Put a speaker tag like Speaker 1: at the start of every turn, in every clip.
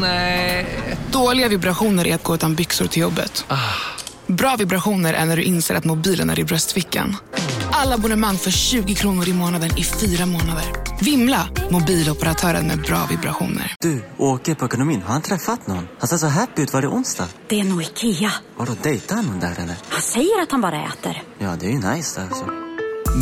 Speaker 1: Nej.
Speaker 2: Dåliga vibrationer är att gå utan byxor till jobbet. Bra vibrationer är när du inser att mobilen är i bröstfickan. Alla abonnemang för 20 kronor i månaden i fyra månader. Vimla! Mobiloperatören med bra vibrationer.
Speaker 3: Du, åker på ekonomin. Har han träffat någon? Han ser så happy ut. Var det onsdag?
Speaker 4: Det är nog Ikea.
Speaker 3: Har du dejtat någon där eller?
Speaker 4: Han säger att han bara äter.
Speaker 3: Ja, det är ju nice där alltså.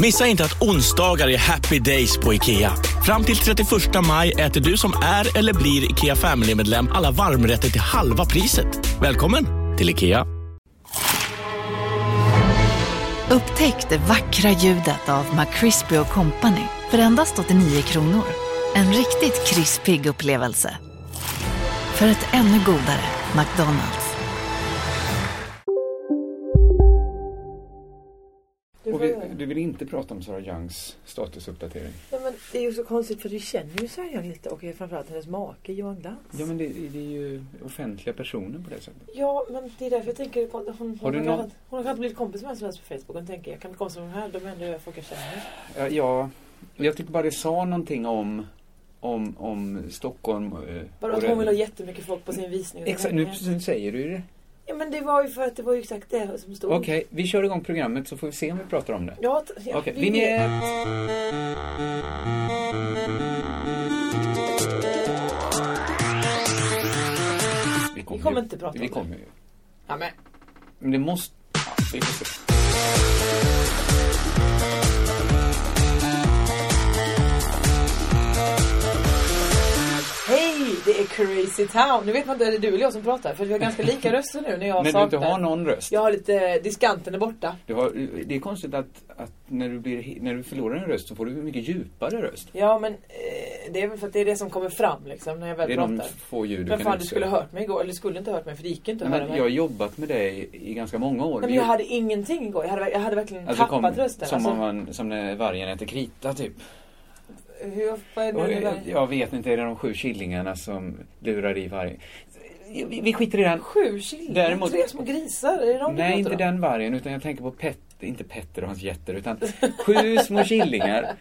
Speaker 5: Missa inte att onsdagar är happy days på IKEA. Fram till 31 maj äter du som är eller blir IKEA Family-medlem alla varmrätter till halva priset. Välkommen till IKEA.
Speaker 6: Upptäck det vackra ljudet av McCrispy Company för endast 89 kronor. En riktigt krispig upplevelse. För ett ännu godare McDonalds.
Speaker 7: Och vi, du vill inte prata om Sara Youngs statusuppdatering?
Speaker 8: Nej, men det är ju så konstigt för vi känner ju Sarah Young lite och framförallt hennes make Johan Glans.
Speaker 7: Ja, men det, det är ju offentliga personer på det sättet.
Speaker 8: Ja, men det är därför jag tänker att hon, hon,
Speaker 7: Har
Speaker 8: hon,
Speaker 7: du
Speaker 8: har
Speaker 7: någon-
Speaker 8: kanske- hon har kanske blivit kompis med vem som helst på Facebook. Hon tänker jag kan bli kompis med de här, de är ändå folk jag känner.
Speaker 7: Ja, ja, jag tyckte bara det sa någonting om, om, om Stockholm. eh,
Speaker 8: Bara
Speaker 7: och
Speaker 8: att
Speaker 7: det-
Speaker 8: hon vill ha Mm. jättemycket folk på sin visning. och sin
Speaker 7: Exakt, nu
Speaker 8: hängning.
Speaker 7: precis säger du det.
Speaker 8: Ja men det var ju för att det var ju exakt det som stod.
Speaker 7: Okej, vi kör igång programmet så får vi se om vi pratar om det.
Speaker 8: Ja, t- ja,
Speaker 7: Okej,
Speaker 8: det är ju det.
Speaker 7: linje Vi
Speaker 8: Vi kommer inte prata om
Speaker 7: Vi
Speaker 8: det.
Speaker 7: kommer ju.
Speaker 8: Ja, men.
Speaker 7: Men det måste... ja, Vi får se.
Speaker 8: Hej, det är Crazy Town. Nu vet man inte, är det du eller jag som pratar? För vi har ganska lika röster nu när jag
Speaker 7: När du inte
Speaker 8: saknar.
Speaker 7: har någon röst.
Speaker 8: Jag har lite, diskanten är borta.
Speaker 7: Du har, det är konstigt att, att när, du blir, när du förlorar en röst så får du en mycket djupare röst.
Speaker 8: Ja men eh, det är väl för att det är det som kommer fram liksom när jag väl
Speaker 7: Det är
Speaker 8: pratar.
Speaker 7: de få ljud du
Speaker 8: men
Speaker 7: kan
Speaker 8: fan du
Speaker 7: utse.
Speaker 8: skulle ha hört mig igår, eller du skulle inte ha hört mig för det gick inte att
Speaker 7: Nej,
Speaker 8: höra
Speaker 7: men
Speaker 8: mig.
Speaker 7: jag har jobbat med dig i ganska många år.
Speaker 8: Nej, men
Speaker 7: Vi-
Speaker 8: jag hade ingenting igår, jag hade, jag hade verkligen
Speaker 7: alltså,
Speaker 8: tappat
Speaker 7: kom,
Speaker 8: rösten.
Speaker 7: Som,
Speaker 8: Alltså,
Speaker 7: om man, som när vargen äter krita typ.
Speaker 8: hur, vad är det
Speaker 7: Och,
Speaker 8: nu?
Speaker 7: jag, jag vet inte, är det de sju killingarna som lurar i vargen? Vi, vi skiter i den.
Speaker 8: Sju killar,
Speaker 7: Däremot-
Speaker 8: tre små grisar, är det de
Speaker 7: Nej, inte
Speaker 8: den.
Speaker 7: den vargen, utan jag tänker på Petter, inte Petter och hans getter, utan sju små killingar.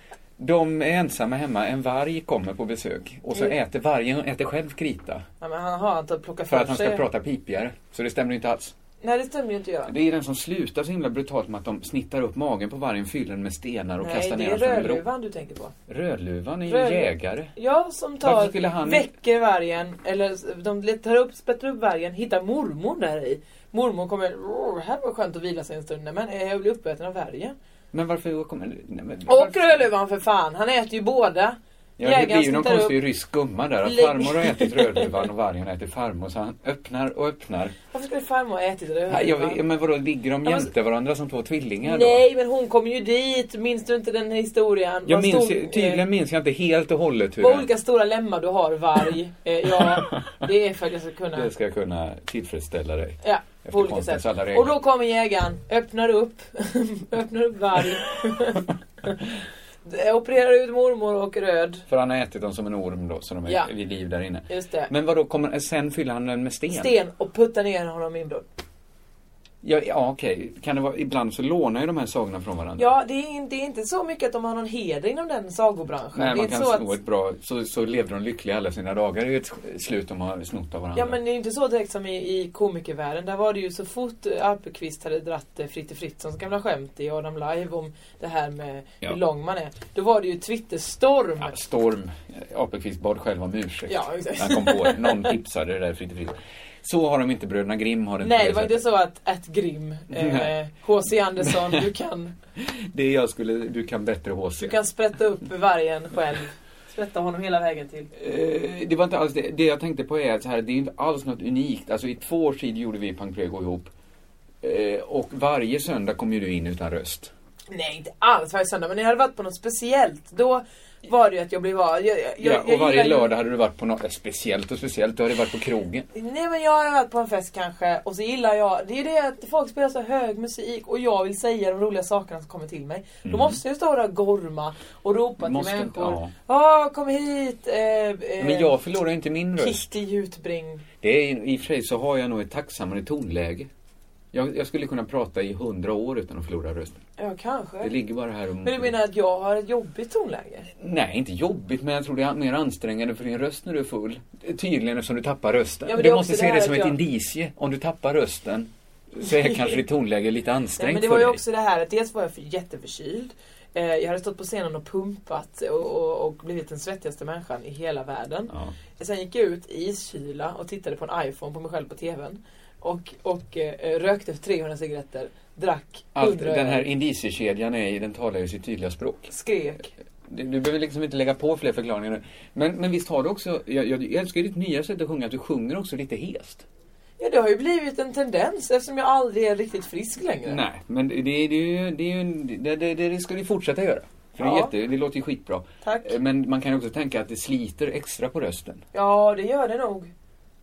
Speaker 7: De är ensamma hemma, en varg kommer på besök och
Speaker 8: Mm.
Speaker 7: så äter vargen, och äter själv krita.
Speaker 8: Nej, men han har inte plockat
Speaker 7: För
Speaker 8: för,
Speaker 7: att han ska
Speaker 8: sig.
Speaker 7: prata pipigare. Så det stämmer ju inte alls.
Speaker 8: Nej det stämmer ju inte jag.
Speaker 7: Det är den som slutar så himla brutalt med att de snittar upp magen på vargen, fyller den med stenar och
Speaker 8: Nej
Speaker 7: kastar
Speaker 8: det
Speaker 7: ner
Speaker 8: är
Speaker 7: den från en bro.
Speaker 8: Rödluvan du tänker på.
Speaker 7: Rödluvan är ju
Speaker 8: Röd-
Speaker 7: jägare.
Speaker 8: Ja som
Speaker 7: Varför
Speaker 8: tar,
Speaker 7: skulle han-
Speaker 8: väcker vargen, eller de tar upp, spettar upp vargen, hittar mormor där i. Mormor kommer, "Åh, här var skönt att vila sig en stund, Nej, men eh, jag blir uppäten av vargen.
Speaker 7: Men varför kommer... Nej, men,
Speaker 8: Och Rödluvan för fan, han äter ju båda.
Speaker 7: Ja, det blir ju
Speaker 8: Jägaren
Speaker 7: någon
Speaker 8: snittar
Speaker 7: konstig rysk gumma där. Att
Speaker 8: Lägg-
Speaker 7: farmor har ätit rödluvan och vargen har ätit farmor. Så han öppnar och öppnar.
Speaker 8: Varför skulle farmor ha ätit Rödluvan?
Speaker 7: Nej, jag, men vadå, ligger de
Speaker 8: Ja, men-
Speaker 7: jämte varandra som två tvillingar då?
Speaker 8: Nej men hon kom ju dit, minns du inte den historien?
Speaker 7: Jag
Speaker 8: Vad
Speaker 7: minns,
Speaker 8: stod,
Speaker 7: ju- tydligen
Speaker 8: eh,
Speaker 7: minns jag inte helt och hållet hur
Speaker 8: Vad
Speaker 7: den,
Speaker 8: olika stora lemmar du har varg. Eh, ja, det är för att jag ska kunna.
Speaker 7: det ska kunna tillfredsställa dig.
Speaker 8: Ja,
Speaker 7: Efter
Speaker 8: på olika
Speaker 7: konstens
Speaker 8: sätt.
Speaker 7: alla regler.
Speaker 8: Och då kommer jägaren, öppnar upp, öppnar upp varg. Opererar ut mormor och röd.
Speaker 7: För han har ätit dem som en orm då, så de är
Speaker 8: Ja.
Speaker 7: vid liv där inne.
Speaker 8: Just det.
Speaker 7: Men vadå, kommer, sen fyller han den med sten?
Speaker 8: Sten och puttar ner honom i en brunn.
Speaker 7: Ja, ja okej. Kan det vara, ibland så lånar ju de här sagorna från varandra.
Speaker 8: Ja, det är, in- det är inte så mycket att de har någon heder inom den sagobranschen.
Speaker 7: Nej,
Speaker 8: det är
Speaker 7: man
Speaker 8: inte
Speaker 7: kan
Speaker 8: så
Speaker 7: sno ett bra... Så, så levde de lyckliga alla sina dagar. Det är ju ett s- slut de har snott av varandra.
Speaker 8: Ja men det är inte så direkt som i, i komikervärlden. Där var det ju så fort eh, Alpqvist hade dratt eh, Fritte Fritzons gamla skämt i Adam Live om det här med
Speaker 7: Ja.
Speaker 8: hur lång man är. Då var det ju Twitterstorm.
Speaker 7: Ja, Storm, eh, Apelqvist bad själv om ursäkt.
Speaker 8: Ja, exakt.
Speaker 7: Han kom på det. Någon tipsade det där Fritte Fritte. Så har de inte Bröderna Grimm. Har det
Speaker 8: Nej, det
Speaker 7: inte
Speaker 8: var
Speaker 7: på
Speaker 8: inte
Speaker 7: sättet.
Speaker 8: så att At Grimm, eh,
Speaker 7: Nej.
Speaker 8: H.C. Andersson, du kan,
Speaker 7: Det jag skulle... Du kan bättre HC.
Speaker 8: du kan sprätta upp vargen själv. Sprätta honom hela vägen till.
Speaker 7: Eh, det var inte alls det. Det jag tänkte på är att så här, det är inte alls något unikt. Alltså i två års tid gjorde vi Pang Prego ihop. Eh, och varje söndag kom ju du in utan röst.
Speaker 8: Nej, inte alls varje söndag. Men när jag hade varit på något speciellt, då var det ju att jag blev av. Jag, jag, jag,
Speaker 7: ja,
Speaker 8: jag
Speaker 7: och varje
Speaker 8: gillar ju-
Speaker 7: lördag hade du varit på något eh, speciellt och speciellt. Du hade varit på krogen.
Speaker 8: Nej men jag har varit på en fest kanske och så gillar jag, det är det att folk spelar så hög musik och jag vill säga de roliga sakerna som kommer till mig. Då måste jag stå där och gorma och ropa till
Speaker 7: Mm. Måste,
Speaker 8: människor.
Speaker 7: ja.
Speaker 8: Ja, kom hit! Eh, eh,
Speaker 7: Men jag förlorar ju inte min röst.
Speaker 8: Kirsti Jutbring.
Speaker 7: Det är, I och för sig så har jag nog ett tacksammare tonläge. Jag, jag skulle kunna prata i hundra år utan att förlora rösten.
Speaker 8: Ja, kanske.
Speaker 7: Det ligger bara här och...
Speaker 8: Men du menar att jag har ett jobbigt tonläge?
Speaker 7: Nej, inte jobbigt, men jag tror det är mer ansträngande för din röst när du är full. Tydligen eftersom du tappar rösten.
Speaker 8: Ja, men det
Speaker 7: du
Speaker 8: är
Speaker 7: måste
Speaker 8: också
Speaker 7: se det
Speaker 8: det här
Speaker 7: som
Speaker 8: att
Speaker 7: ett
Speaker 8: jag-
Speaker 7: indicie. Om du tappar rösten så är kanske ditt tonläge lite
Speaker 8: Nej,
Speaker 7: ansträngt
Speaker 8: men det
Speaker 7: för
Speaker 8: var ju
Speaker 7: dig.
Speaker 8: också det här att dels var jag för jätteförkyld. Eh, Jag hade stått på scenen och pumpat och, och, och blivit den svettigaste människan i hela världen.
Speaker 7: Ja.
Speaker 8: Sen gick jag ut i kyla och tittade på en iPhone på mig själv på TVn. Och, och eh, rökte 300 cigaretter, drack 100
Speaker 7: Allt, den här
Speaker 8: öl,
Speaker 7: indiciekedjan är, i- den talar ju sitt tydliga språk.
Speaker 8: skrek.
Speaker 7: Du, du behöver liksom inte lägga på fler förklaringar nu. Men, men visst har du också, jag, jag, jag älskar ju ditt nya sätt att sjunga, att du sjunger också lite hest.
Speaker 8: Ja, det har ju blivit en tendens eftersom jag aldrig är riktigt frisk längre.
Speaker 7: Nej, men det, det, det, är ju- det, är ju en- det, det, det ska du fortsätta göra. För det, är
Speaker 8: Ja.
Speaker 7: jätte, det låter ju skitbra.
Speaker 8: Tack.
Speaker 7: Eh, Men man kan ju också tänka att det sliter extra på rösten.
Speaker 8: Ja, det gör det nog.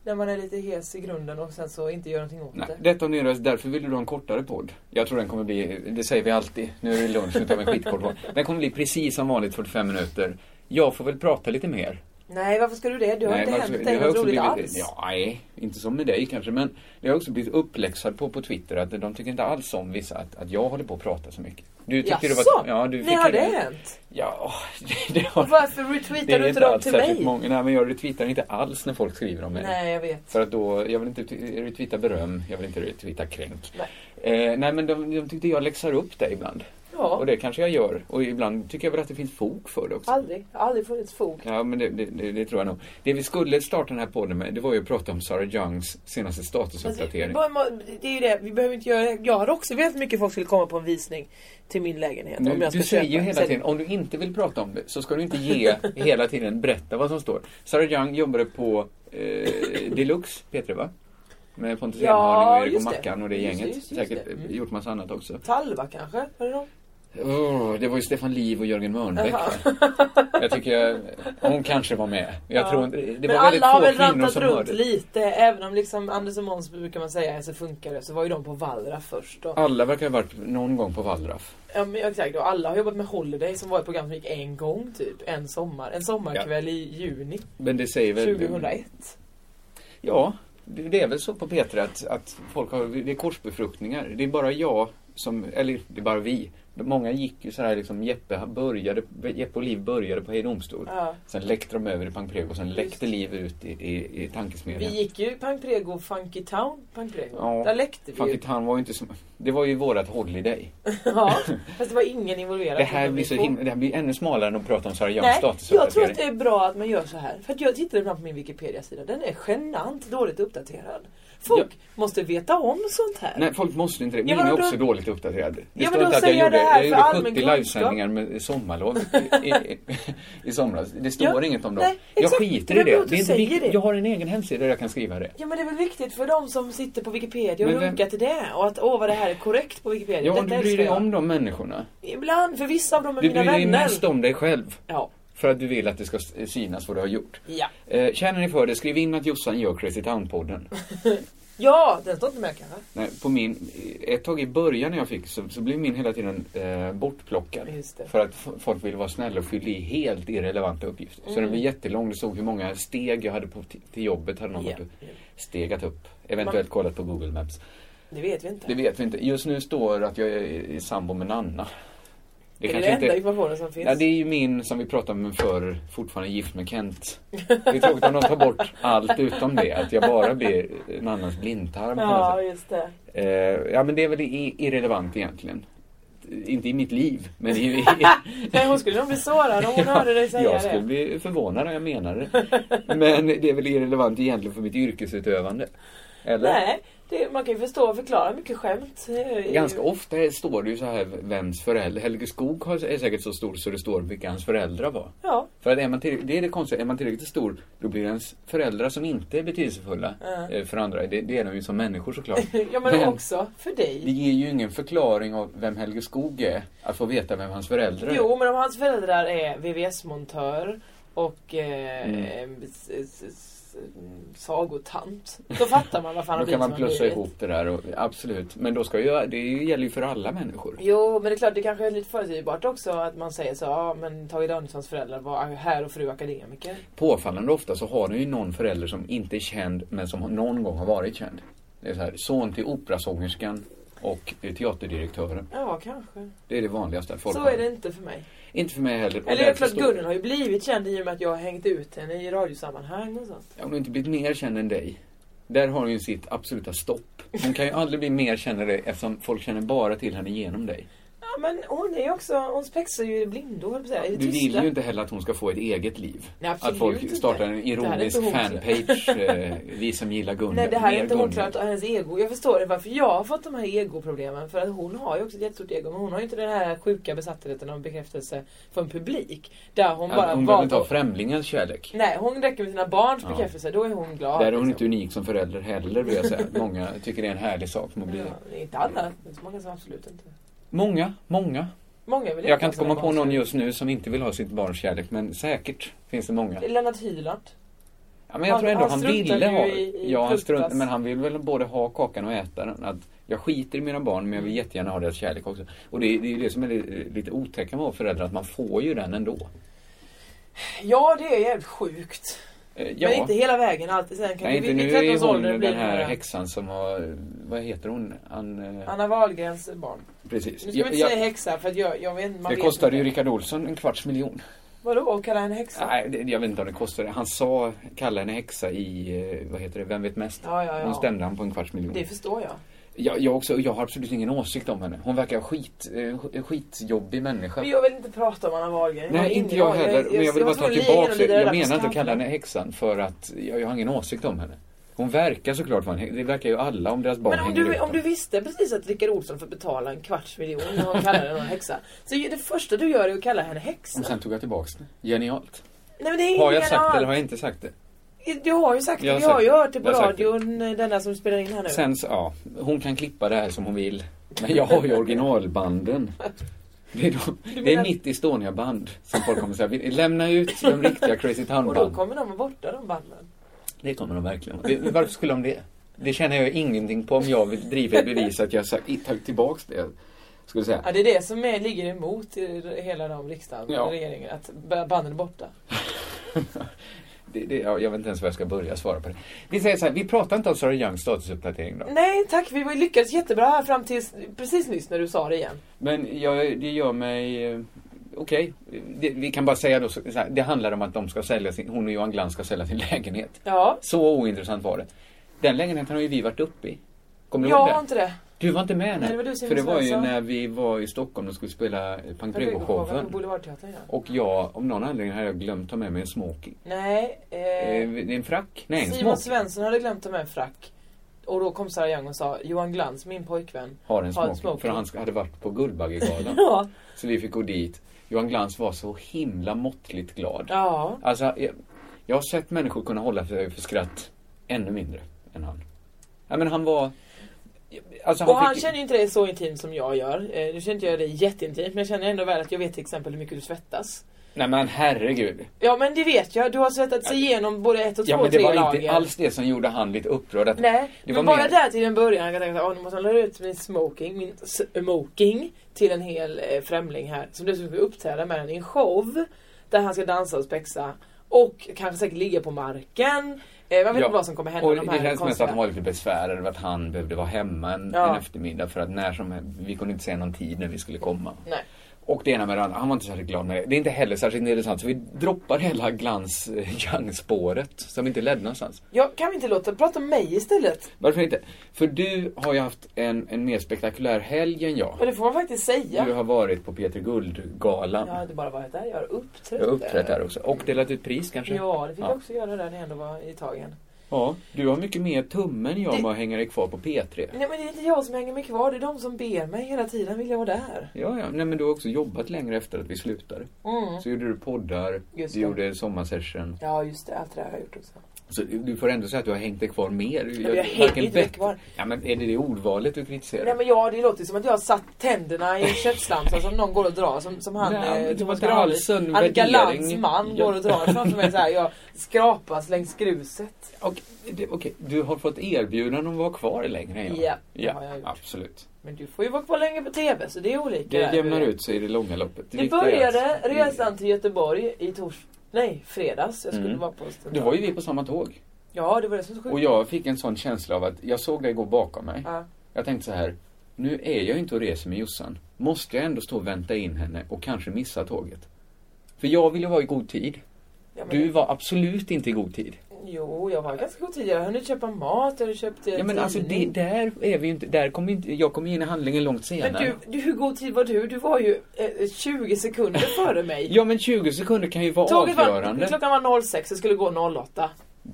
Speaker 8: När man är lite hes i grunden och sen så inte gör någonting åt
Speaker 7: Nej,
Speaker 8: det.
Speaker 7: detta om din röst, därför vill du ha en kortare podd. Jag tror den kommer bli, det säger vi alltid, nu är det lunch, nu tar vi en skitkort podd. Den kommer bli precis som vanligt 45 minuter. Jag får väl prata lite mer.
Speaker 8: Nej, varför ska du det? Du har inte
Speaker 7: men
Speaker 8: hänt
Speaker 7: det
Speaker 8: dig
Speaker 7: har
Speaker 8: något
Speaker 7: också
Speaker 8: roligt
Speaker 7: blivit,
Speaker 8: alls.
Speaker 7: ja, nej, inte som med dig kanske, men jag har också blivit uppläxad på, på Twitter att de tycker inte alls om vissa att, att jag håller på att prata så mycket. Du tyckte det var... Ja, du
Speaker 8: Nej, har
Speaker 7: ju-
Speaker 8: det hänt?
Speaker 7: Ja, det har...
Speaker 8: Varför
Speaker 7: det
Speaker 8: retweetar
Speaker 7: är
Speaker 8: du inte
Speaker 7: inte
Speaker 8: dem
Speaker 7: alls
Speaker 8: till
Speaker 7: särskilt
Speaker 8: mig?
Speaker 7: många. Nej, men jag retweetar inte alls när folk skriver om mig.
Speaker 8: Nej, jag vet.
Speaker 7: För att då, jag vill inte retweeta beröm, jag vill inte retweeta kränk.
Speaker 8: Nej.
Speaker 7: Eh, nej men de, de tyckte jag läxar upp dig ibland. Och
Speaker 8: Ja,
Speaker 7: det kanske jag gör. Och ibland tycker jag väl att det finns fog för det också.
Speaker 8: aldrig. Jag har aldrig funnits fog.
Speaker 7: Ja, men det, det, det, det tror jag nog. Det vi skulle starta den här podden med, det var ju att prata om Sarah Youngs senaste
Speaker 8: Alltså,
Speaker 7: statusuppdatering.
Speaker 8: bara må- det är ju det, vi behöver inte göra det. Jag hade också velat mycket folk skulle komma på en visning till min lägenhet. om
Speaker 7: Nu,
Speaker 8: jag ska
Speaker 7: du säger
Speaker 8: köpa
Speaker 7: ju
Speaker 8: en.
Speaker 7: hela
Speaker 8: Sen-
Speaker 7: tiden, om du inte vill prata om det så ska du inte ge hela tiden berätta vad som står. Sarah Young jobbade på eh, Deluxe, P3 va? Med Pontus
Speaker 8: Ja,
Speaker 7: Enharning och Erik och
Speaker 8: just det.
Speaker 7: Mackan och det
Speaker 8: Just det,
Speaker 7: gänget.
Speaker 8: just det, just
Speaker 7: Säkert
Speaker 8: det.
Speaker 7: eh,
Speaker 8: Mm.
Speaker 7: gjort massa annat också.
Speaker 8: Talva kanske? Var det någon?
Speaker 7: Åh, det var ju Stefan Liv och Jörgen Mörnbäck. va? Jag tycker jag, hon kanske var med. Jag
Speaker 8: Ja.
Speaker 7: tror inte, det
Speaker 8: Men
Speaker 7: var väldigt
Speaker 8: alla har väl
Speaker 7: få kvinnor
Speaker 8: rantat
Speaker 7: som
Speaker 8: runt
Speaker 7: hörde.
Speaker 8: lite. Även om liksom Anders och Måns brukar man säga så funkar det. Så var ju de på Wallraff först. Och,
Speaker 7: Alla verkar ha varit någon gång på Wallraff.
Speaker 8: ja, men, exakt, och alla har jobbat med Holiday som var ett program som gick en gång typ. En sommar. En sommarkväll i juni
Speaker 7: Men det säger väl...
Speaker 8: 2001.
Speaker 7: Ja, det det är väl så på P3 att, att folk har, det är korsbefruktningar. Det är bara jag som, eller det är bara vi. Många gick ju så här liksom, Jeppe, började, Jeppe och Liv började på Hej domstol.
Speaker 8: Ja.
Speaker 7: Sen läckte de över i Pang Prego och sen läckte Liv ut i, i, i tankesmedjan.
Speaker 8: Vi gick ju Pang Prego, Funky Town, Pang Prego.
Speaker 7: Ja.
Speaker 8: Där läckte vi
Speaker 7: Fan,
Speaker 8: ju.
Speaker 7: fick han var ju inte som, det var ju vårat Holiday.
Speaker 8: Ja, fast det var ingen involverad.
Speaker 7: Det här, blir så
Speaker 8: På-
Speaker 7: himla, det här blir ännu smalare än att prata om Sara Youngs
Speaker 8: Nej, jag tror att det
Speaker 7: statusuppdatering.
Speaker 8: är bra att man gör så här. För att jag tittade ibland på min Wikipedia-sida. Den är genant dåligt uppdaterad. Folk måste veta om sånt här.
Speaker 7: Nej, folk måste inte det. Min
Speaker 8: Ja, men
Speaker 7: är
Speaker 8: då-
Speaker 7: också dåligt uppdaterad. Det
Speaker 8: men
Speaker 7: står
Speaker 8: då
Speaker 7: inte att jag
Speaker 8: säger jag
Speaker 7: gjorde,
Speaker 8: det här
Speaker 7: jag
Speaker 8: för
Speaker 7: gjorde
Speaker 8: allmän
Speaker 7: 70
Speaker 8: kunskap.
Speaker 7: livesändningar med sommarlov i, i, i somras. Det står
Speaker 8: Ja,
Speaker 7: inget om dem.
Speaker 8: nej,
Speaker 7: jag
Speaker 8: exakt.
Speaker 7: skiter
Speaker 8: Det
Speaker 7: i
Speaker 8: är
Speaker 7: det.
Speaker 8: bra att du
Speaker 7: inte
Speaker 8: säger
Speaker 7: viktigt.
Speaker 8: det.
Speaker 7: Jag har en egen hemsida där jag kan skriva det.
Speaker 8: Ja men det är väl viktigt för de som sitter på Wikipedia och
Speaker 7: Men vem-
Speaker 8: runkar till det. Och att åh vad det här är korrekt på Wikipedia.
Speaker 7: Ja,
Speaker 8: Detta
Speaker 7: du bryr
Speaker 8: älskar
Speaker 7: dig
Speaker 8: jag.
Speaker 7: om de människorna.
Speaker 8: Ibland, för vissa av dem är
Speaker 7: Du
Speaker 8: mina
Speaker 7: bryr dig
Speaker 8: vänner.
Speaker 7: mest om dig själv.
Speaker 8: Ja.
Speaker 7: För att du vill att det ska s- synas vad du har gjort.
Speaker 8: Ja.
Speaker 7: Eh, känner ni för det, skriv in att Jossan gör Crazy Town-podden.
Speaker 8: ja, den står inte med kanske.
Speaker 7: Nej, på min, ett tag i början när jag fick så, så blev min hela tiden eh, bortplockad.
Speaker 8: Just det.
Speaker 7: För att f- folk ville vara snälla och fyllde i helt irrelevanta uppgifter. Så
Speaker 8: Mm.
Speaker 7: den blev jättelång. Det stod hur många steg jag hade på t- till jobbet. Hade någon
Speaker 8: Ja,
Speaker 7: varit-
Speaker 8: ja.
Speaker 7: stegat upp. Eventuellt kollat på Google Maps.
Speaker 8: Det vet vi inte.
Speaker 7: Det vet vi inte. Just nu står att jag är i sambo med Nanna. Det
Speaker 8: är det den enda informationen som finns?
Speaker 7: Ja, det är ju min, som vi pratade om förr, fortfarande gift med Kent. Det är tråkigt om de tar bort allt utom det. Att jag bara blir en annans blindtarm på något sätt.
Speaker 8: Ja, just det.
Speaker 7: Eh, ja men det är väl i- irrelevant egentligen. Inte i mitt liv, men i... i
Speaker 8: Nej, hon skulle nog bli sårad om hon hörde dig säga
Speaker 7: jag skulle
Speaker 8: det.
Speaker 7: bli förvånad om jag menade det. Men det är väl irrelevant egentligen för mitt yrkesutövande? Eller?
Speaker 8: Nej, det, man kan ju förstå och förklara mycket skämt. eh,
Speaker 7: Ganska ofta står det ju så här vems föräldrar... Helge Skog har- är säkert så stor så det står vilka hans föräldrar var.
Speaker 8: Ja.
Speaker 7: För att är man till, det är det konstiga, är man tillräckligt stor då blir ens föräldrar som inte är betydelsefulla eh, för andra, det, det är de ju som människor såklart.
Speaker 8: Ja men också för
Speaker 7: Det
Speaker 8: dig.
Speaker 7: ger ju ingen förklaring av vem Helge Skog är, att få veta vem hans föräldrar är.
Speaker 8: Jo men om hans föräldrar är VVS-montör och eh,
Speaker 7: Mm.
Speaker 8: s- s- s- mm, sagotant. Då fattar man varför han
Speaker 7: Då
Speaker 8: har
Speaker 7: kan
Speaker 8: blivit
Speaker 7: man
Speaker 8: som han
Speaker 7: plussa
Speaker 8: blivit.
Speaker 7: ihop det där, och, absolut. Men då ska ju, det gäller ju för alla människor.
Speaker 8: Jo men det är klart det kanske är lite förutsägbart också att man säger så ja men Tage Danielssons föräldrar var herr och fru akademiker.
Speaker 7: Påfallande ofta så har du ju någon förälder som inte är känd, men som någon gång har varit känd. Det är så här, son till operasångerskan och eh, teaterdirektören.
Speaker 8: Ja, kanske.
Speaker 7: Det är det vanligaste folk
Speaker 8: Så
Speaker 7: har.
Speaker 8: är det inte för mig.
Speaker 7: Inte för mig heller. Och
Speaker 8: Eller det är
Speaker 7: därför
Speaker 8: klart,
Speaker 7: står-
Speaker 8: Gunnel har ju blivit känd i och med att jag har hängt ut henne i radiosammanhang och sånt.
Speaker 7: Ja, Hon har inte blivit mer känd än dig. Där har hon ju sitt absoluta stopp. Hon kan ju aldrig bli mer känd än dig eftersom folk känner bara till henne genom dig.
Speaker 8: Ja, men hon är ju också, hon spexar ju i blindo, höll jag på att säga. I det
Speaker 7: Du vill
Speaker 8: tysta.
Speaker 7: ju inte heller att hon ska få ett eget liv.
Speaker 8: Nej, absolut
Speaker 7: att folk
Speaker 8: inte.
Speaker 7: startar en
Speaker 8: Det här är
Speaker 7: ironisk
Speaker 8: inte hon.
Speaker 7: fanpage, eh, vi som gillar Gunnel.
Speaker 8: Nej, det här
Speaker 7: Mer
Speaker 8: är inte hon
Speaker 7: Gunnel.
Speaker 8: klart och hennes ego. Jag förstår det varför jag har fått de här egoproblemen. För att hon har ju också ett jättestort ego. Men hon har ju inte den här sjuka besattheten av bekräftelse från publik. Där hon bara
Speaker 7: Att hon behöver
Speaker 8: valt
Speaker 7: inte ha
Speaker 8: att-
Speaker 7: främlingens kärlek.
Speaker 8: Nej, hon räcker med sina barns
Speaker 7: Ja.
Speaker 8: bekräftelse. Då är hon glad.
Speaker 7: Där är hon
Speaker 8: liksom.
Speaker 7: inte unik som förälder heller vill jag säga. Många tycker det är en härlig sak som att bli...
Speaker 8: Ja, inte alla. Det är så många som absolut inte.
Speaker 7: Många, många.
Speaker 8: Många vill
Speaker 7: Jag kan
Speaker 8: ha
Speaker 7: inte
Speaker 8: sina
Speaker 7: komma på
Speaker 8: barns
Speaker 7: någon
Speaker 8: kärlek.
Speaker 7: just nu som inte vill ha sitt barns kärlek men säkert finns det många.
Speaker 8: Lennart Hyland.
Speaker 7: Ja, men jag
Speaker 8: Han-
Speaker 7: tror ändå
Speaker 8: han
Speaker 7: han,
Speaker 8: struntar
Speaker 7: ville
Speaker 8: ju
Speaker 7: ha
Speaker 8: i- i
Speaker 7: Ja, han strunt,
Speaker 8: fruktglass.
Speaker 7: men han vill väl både ha kakan och äta den. Att jag skiter i mina barn men jag
Speaker 8: Mm.
Speaker 7: vill jättegärna ha deras kärlek också. Och det, det är ju det som är li- lite otäcka med att vara förälder, att man får ju den ändå.
Speaker 8: Ja, det är jävligt sjukt.
Speaker 7: Eh,
Speaker 8: Men inte hela vägen alltid. Sen kan
Speaker 7: Nej,
Speaker 8: det-
Speaker 7: inte
Speaker 8: vid-
Speaker 7: nu
Speaker 8: vid
Speaker 7: är ju
Speaker 8: 13 års
Speaker 7: hon
Speaker 8: ålder
Speaker 7: den
Speaker 8: blir det
Speaker 7: här
Speaker 8: några-
Speaker 7: häxan som har, vad heter hon? An, eh,
Speaker 8: Anna Wahlgrens barn.
Speaker 7: precis.
Speaker 8: Nu ska vi inte säga häxa för att jag, jag vet, man
Speaker 7: det
Speaker 8: vet
Speaker 7: kostade ju
Speaker 8: inte.
Speaker 7: Rickard Olsson en kvarts miljon.
Speaker 8: Vadå att kalla henne häxa?
Speaker 7: Nej, det, jag vet inte om det kostade. Han sa, kalla henne häxa i, eh, vad heter det, Vem vet mest?
Speaker 8: Ja, ja, ja.
Speaker 7: Hon stämde han på en kvarts miljon.
Speaker 8: Det förstår jag.
Speaker 7: Jag, jag, också, jag har absolut ingen åsikt om henne. Hon verkar skit, eh, sk- skitjobbig människa.
Speaker 8: Men jag vill inte prata om Anna Wahlgren. har
Speaker 7: Nej, inte
Speaker 8: ingen
Speaker 7: jag
Speaker 8: aning.
Speaker 7: heller. Men jag vill bara
Speaker 8: var
Speaker 7: ta
Speaker 8: tvungen att
Speaker 7: tillbaka
Speaker 8: ligga
Speaker 7: det.
Speaker 8: där
Speaker 7: Jag
Speaker 8: på
Speaker 7: menar inte att
Speaker 8: skammen.
Speaker 7: kalla henne häxan för att jag, jag har ingen åsikt om henne. Hon verkar såklart vara en hä- Det verkar ju alla om deras barn
Speaker 8: Men om
Speaker 7: hänger
Speaker 8: du,
Speaker 7: ut
Speaker 8: om du
Speaker 7: dem.
Speaker 8: visste precis att Rickard Olsson får betala en kvarts miljon när hon kallar henne en häxa. Så ju- det första du gör är att kalla henne häxa.
Speaker 7: Och sen tog jag tillbaks det. Genialt.
Speaker 8: Nej men det är
Speaker 7: Har
Speaker 8: ingen
Speaker 7: jag sagt det eller
Speaker 8: annan.
Speaker 7: har jag inte sagt det?
Speaker 8: Du har ju sagt det.
Speaker 7: Jag har
Speaker 8: Vi har
Speaker 7: sagt
Speaker 8: ju
Speaker 7: det.
Speaker 8: hört det på
Speaker 7: Jag har sagt det.
Speaker 8: radion, denna som spelar in här nu.
Speaker 7: Sen så, ja, hon kan klippa det här som hon vill. Men jag har ju originalbanden. Det är, de, det är
Speaker 8: menar-
Speaker 7: mitt Estonia-band som folk kommer säga, "Vi- lämna ut de riktiga Crazy
Speaker 8: Och då
Speaker 7: Town-banden.
Speaker 8: kommer de borta de banden.
Speaker 7: Det kommer de verkligen det, Varför skulle de det? Det känner jag ingenting på om jag vill driva i bevis att jag sa- i- tagit tillbaks det. Skulle säga.
Speaker 8: Ja, det är det som är, ligger emot i hela de riksdagen
Speaker 7: Ja.
Speaker 8: och regeringen. Att b- banden är borta.
Speaker 7: Det, det, ja, jag vet inte ens var jag ska börja svara på det. Vi säger så här, vi pratar inte om Sara Youngs statusuppdatering då.
Speaker 8: Nej tack, vi var- lyckades jättebra här fram tills precis nyss när du sa det igen.
Speaker 7: Men jag, det gör mig... eh, Okej, Det- vi kan bara säga då så så här, det handlar om att de ska sälja sin, hon och Johan Glans ska sälja sin lägenhet.
Speaker 8: Ja,
Speaker 7: Så ointressant var det. Den lägenheten har ju vi varit uppe i. Kommer du
Speaker 8: jag
Speaker 7: ihåg
Speaker 8: har
Speaker 7: det?
Speaker 8: inte det.
Speaker 7: Du var inte med
Speaker 8: Nej, det var du som
Speaker 7: För det var ju
Speaker 8: sa.
Speaker 7: när vi var i Stockholm och skulle spela eh,
Speaker 8: På
Speaker 7: Pankrego-showen.
Speaker 8: Boulevardteatern ja.
Speaker 7: Och jag, om någon anledning hade jag glömt ta med mig en smoking.
Speaker 8: Nej,
Speaker 7: Eh,
Speaker 8: eh,
Speaker 7: det är en frack? Nej, en
Speaker 8: Simon
Speaker 7: smoking.
Speaker 8: Svensson hade glömt ta med en frack. Och då kom Sara Young och sa Johan Glans, min pojkvän.
Speaker 7: Har en
Speaker 8: har en
Speaker 7: smoking.
Speaker 8: smoking.
Speaker 7: För han sk- hade varit på Guldbaggegalan.
Speaker 8: Ja.
Speaker 7: så vi fick gå dit. Johan Glans var så himla måttligt glad.
Speaker 8: Ja.
Speaker 7: Alltså, jag, jag har sett människor kunna hålla sig för skratt ännu mindre än han. Ja, men han var... Alltså, han
Speaker 8: Och han
Speaker 7: fick,
Speaker 8: känner ju inte dig så intimt som jag gör. Eh, nu känner inte jag dig jätteintimt men jag känner ändå väl att jag vet till exempel hur mycket du svettas.
Speaker 7: Nej men herregud.
Speaker 8: Ja men det vet jag, du har svettat sig igenom både ett och två
Speaker 7: Ja, men
Speaker 8: och
Speaker 7: det
Speaker 8: tre
Speaker 7: var
Speaker 8: lager.
Speaker 7: inte alls det som gjorde han lite upprörd. Att
Speaker 8: Nej,
Speaker 7: det
Speaker 8: men
Speaker 7: var
Speaker 8: bara
Speaker 7: mer-
Speaker 8: där till en början kan jag tänka att nu måste han lära ut min smoking, min smoking till en hel eh, främling här som dessutom ska uppträda med den i en show där han ska dansa och spexa och kanske säkert ligga på marken. Eh, man vet inte vad som kommer hända
Speaker 7: och
Speaker 8: med de
Speaker 7: Det
Speaker 8: här
Speaker 7: känns mest att
Speaker 8: konstiga...
Speaker 7: han var lite besvärad över att han behövde vara hemma en,
Speaker 8: Ja.
Speaker 7: en eftermiddag för att när som helst, vi kunde inte säga någon tid när vi skulle komma.
Speaker 8: Nej.
Speaker 7: Och det ena med det andra, han var inte särskilt glad med det. Det är inte heller särskilt intressant så vi droppar hela glans young spåret som inte ledde någonstans.
Speaker 8: Ja, kan vi inte låta prata om mig istället?
Speaker 7: Varför inte? För du har ju haft en, en mer spektakulär helg än jag.
Speaker 8: Och det får man faktiskt säga.
Speaker 7: Du har varit på Peter Guld-galan.
Speaker 8: Jag har inte bara varit där, jag har uppträtt
Speaker 7: jag har uppträtt
Speaker 8: där.
Speaker 7: där också. Och delat ut pris kanske?
Speaker 8: Ja, det fick
Speaker 7: Ja.
Speaker 8: jag också göra där när jag ändå var i tagen.
Speaker 7: Ja, du har mycket mer tumme än jag
Speaker 8: Det-
Speaker 7: med att hänga dig kvar på P3.
Speaker 8: Nej men det är inte jag som hänger mig kvar, det är de som ber mig hela tiden vill jag vara där.
Speaker 7: Ja, ja. Nej, men du har också jobbat längre efter att vi slutade.
Speaker 8: Mm.
Speaker 7: Så gjorde du poddar,
Speaker 8: Just
Speaker 7: du
Speaker 8: det.
Speaker 7: gjorde sommarsession.
Speaker 8: Ja just det, allt det där har jag gjort också.
Speaker 7: Så du får ändå säga att du har hängt dig kvar mer.
Speaker 8: jag
Speaker 7: varken
Speaker 8: hänger inte mig
Speaker 7: bett-
Speaker 8: kvar.
Speaker 7: Ja, men är det det ordvalet du kritiserar?
Speaker 8: Nej men ja, det låter ju som att jag har satt tänderna i en köttslamsa som någon går och drar. Som, som han,
Speaker 7: Nej, men det
Speaker 8: eh, Thomas
Speaker 7: var inte alls
Speaker 8: Granlund.
Speaker 7: en
Speaker 8: Annika
Speaker 7: värdering.
Speaker 8: Lantz man
Speaker 7: Ja.
Speaker 8: går och drar framför mig såhär. Jag skrapas längs gruset.
Speaker 7: Okej, det- okej, du har fått erbjudanden om att vara kvar längre än jag.
Speaker 8: Ja, det
Speaker 7: ja
Speaker 8: har jag gjort.
Speaker 7: absolut.
Speaker 8: Men du får ju vara kvar länge på TV så det är olika.
Speaker 7: Det jämnar ut sig i det långa loppet.
Speaker 8: Det,
Speaker 7: viktiga är
Speaker 8: började
Speaker 7: att-
Speaker 8: resan till Göteborg i tors... Nej, fredags. Jag skulle
Speaker 7: Mm.
Speaker 8: vara på Östermalm.
Speaker 7: Då var ju vi på samma tåg.
Speaker 8: Ja, det var det som var så sjukt.
Speaker 7: Och jag fick en sån känsla av att jag såg dig gå bakom mig.
Speaker 8: Ja.
Speaker 7: Jag tänkte så här, nu är jag ju inte och reser med Jossan. Måste jag ändå stå och vänta in henne och kanske missa tåget? För jag vill ju vara i god tid.
Speaker 8: Ja, men
Speaker 7: Du
Speaker 8: det-
Speaker 7: var absolut inte i god tid.
Speaker 8: Jo, jag var ganska god tid. Jag hann ju köpa mat, jag hade köpt eh,
Speaker 7: Ja men alltså det,
Speaker 8: tidning.
Speaker 7: där är vi ju inte, där kommer inte, jag kommer ju in i handlingen långt senare.
Speaker 8: Men du, du, hur god tid var du? Du var ju eh, 20 sekunder före mig.
Speaker 7: Ja men 20 sekunder kan ju vara
Speaker 8: Tåget var,
Speaker 7: avgörande.
Speaker 8: klockan var 06, det skulle gå 08.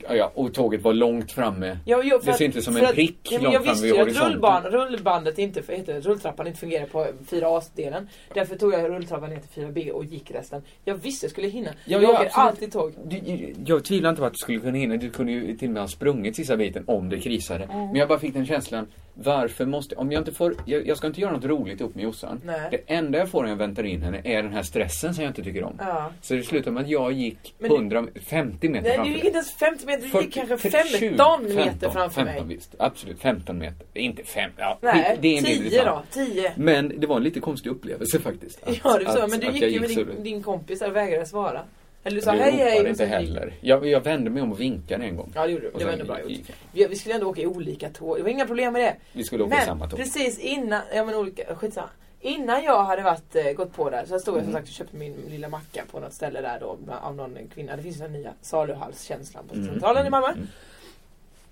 Speaker 7: Ja, ja, och tåget var långt framme.
Speaker 8: Ja, jo, för
Speaker 7: det
Speaker 8: att-
Speaker 7: ser inte ut som
Speaker 8: för
Speaker 7: en
Speaker 8: att-
Speaker 7: prick
Speaker 8: ja, men
Speaker 7: långt
Speaker 8: Jag
Speaker 7: fram
Speaker 8: visste
Speaker 7: vid
Speaker 8: ju att
Speaker 7: horisonten.
Speaker 8: rullban, rullbandet inte, för- heter det, rulltrappan inte fungerar på 4A-delen. Därför tog jag rulltrappan ner till 4B och gick resten. Jag visste jag skulle hinna.
Speaker 7: Ja,
Speaker 8: jag
Speaker 7: ja,
Speaker 8: åker
Speaker 7: absolut.
Speaker 8: alltid tåg.
Speaker 7: Du, jag tvivlar inte på att du skulle kunna hinna. Du kunde ju till och med ha sprungit sista biten om det krisade.
Speaker 8: Mm.
Speaker 7: Men jag bara fick den känslan. Varför måste... Om jag inte får... Jag, jag ska inte göra något roligt ihop med Jossan.
Speaker 8: Nej.
Speaker 7: Det enda jag får när jag väntar in henne är den här stressen som jag inte tycker om.
Speaker 8: Ja.
Speaker 7: Så det slutade med att jag gick
Speaker 8: Men du-
Speaker 7: 100, 50 meter
Speaker 8: Nej, du
Speaker 7: framför
Speaker 8: gick
Speaker 7: dig.
Speaker 8: inte ens 50 meter, du gick
Speaker 7: 40,
Speaker 8: kanske
Speaker 7: 30,
Speaker 8: 15
Speaker 7: 20,
Speaker 8: meter framför
Speaker 7: 15
Speaker 8: mig.
Speaker 7: visst. Absolut, 15 meter. Det är Inte 5. Ja,
Speaker 8: Nej,
Speaker 7: skit, det är inte
Speaker 8: 10 då.
Speaker 7: intressant.
Speaker 8: 10.
Speaker 7: Men det var en lite konstig upplevelse faktiskt. Att,
Speaker 8: Ja, det var så.
Speaker 7: att-
Speaker 8: Men du
Speaker 7: att
Speaker 8: gick
Speaker 7: jag
Speaker 8: ju med
Speaker 7: surrigt.
Speaker 8: din, din kompis där och vägrade svara. Eller du sa
Speaker 7: Jag
Speaker 8: hej
Speaker 7: ropade
Speaker 8: hej. och
Speaker 7: inte
Speaker 8: sen gick-
Speaker 7: heller. Jag, jag vände mig om och vinkade en gång.
Speaker 8: Ja, det gjorde du.
Speaker 7: Och
Speaker 8: Det var
Speaker 7: sen
Speaker 8: ändå bra
Speaker 7: gick-
Speaker 8: gjort. Vi, vi skulle ändå åka i olika tåg. Det var inga problem med det.
Speaker 7: Vi skulle åka i
Speaker 8: men
Speaker 7: samma tåg.
Speaker 8: precis innan, ja men olika, skitsamma. Innan jag hade varit, eh, gått på där så stod
Speaker 7: Mm.
Speaker 8: jag som sagt och köpte min lilla macka på något ställe där då bland- av någon kvinna. Det finns den nya saluhalskänslan
Speaker 7: Mm.
Speaker 8: på centralen i Malmö.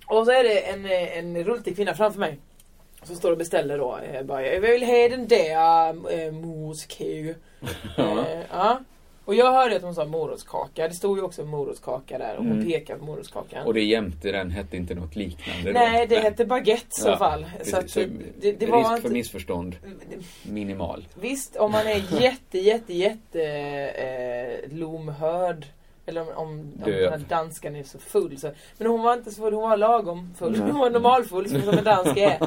Speaker 8: Och så är det en, eh, en rultig kvinna framför mig. Som står och beställer då. eh, Bara, jag vill ha den där äh, morskake.
Speaker 7: Ja.
Speaker 8: Eh, ja. Och jag hörde att hon sa morotskaka. Det stod ju också morotskaka där och hon pekade på morotskakan.
Speaker 7: Mm. Och det jämte den hette inte något liknande
Speaker 8: Nej,
Speaker 7: då.
Speaker 8: det hette baguette i så
Speaker 7: Ja,
Speaker 8: fall.
Speaker 7: precis.
Speaker 8: Så att det, det, det
Speaker 7: risk
Speaker 8: var
Speaker 7: för
Speaker 8: inte...
Speaker 7: missförstånd, minimal.
Speaker 8: Visst, om man är jätte, jätte, jätte eh, lomhörd. Eller om, om, om
Speaker 7: Döv.
Speaker 8: den här danskan är så full. Så. Men hon var inte så full, hon var lagom full. Hon var normalfull, som som en dansk är.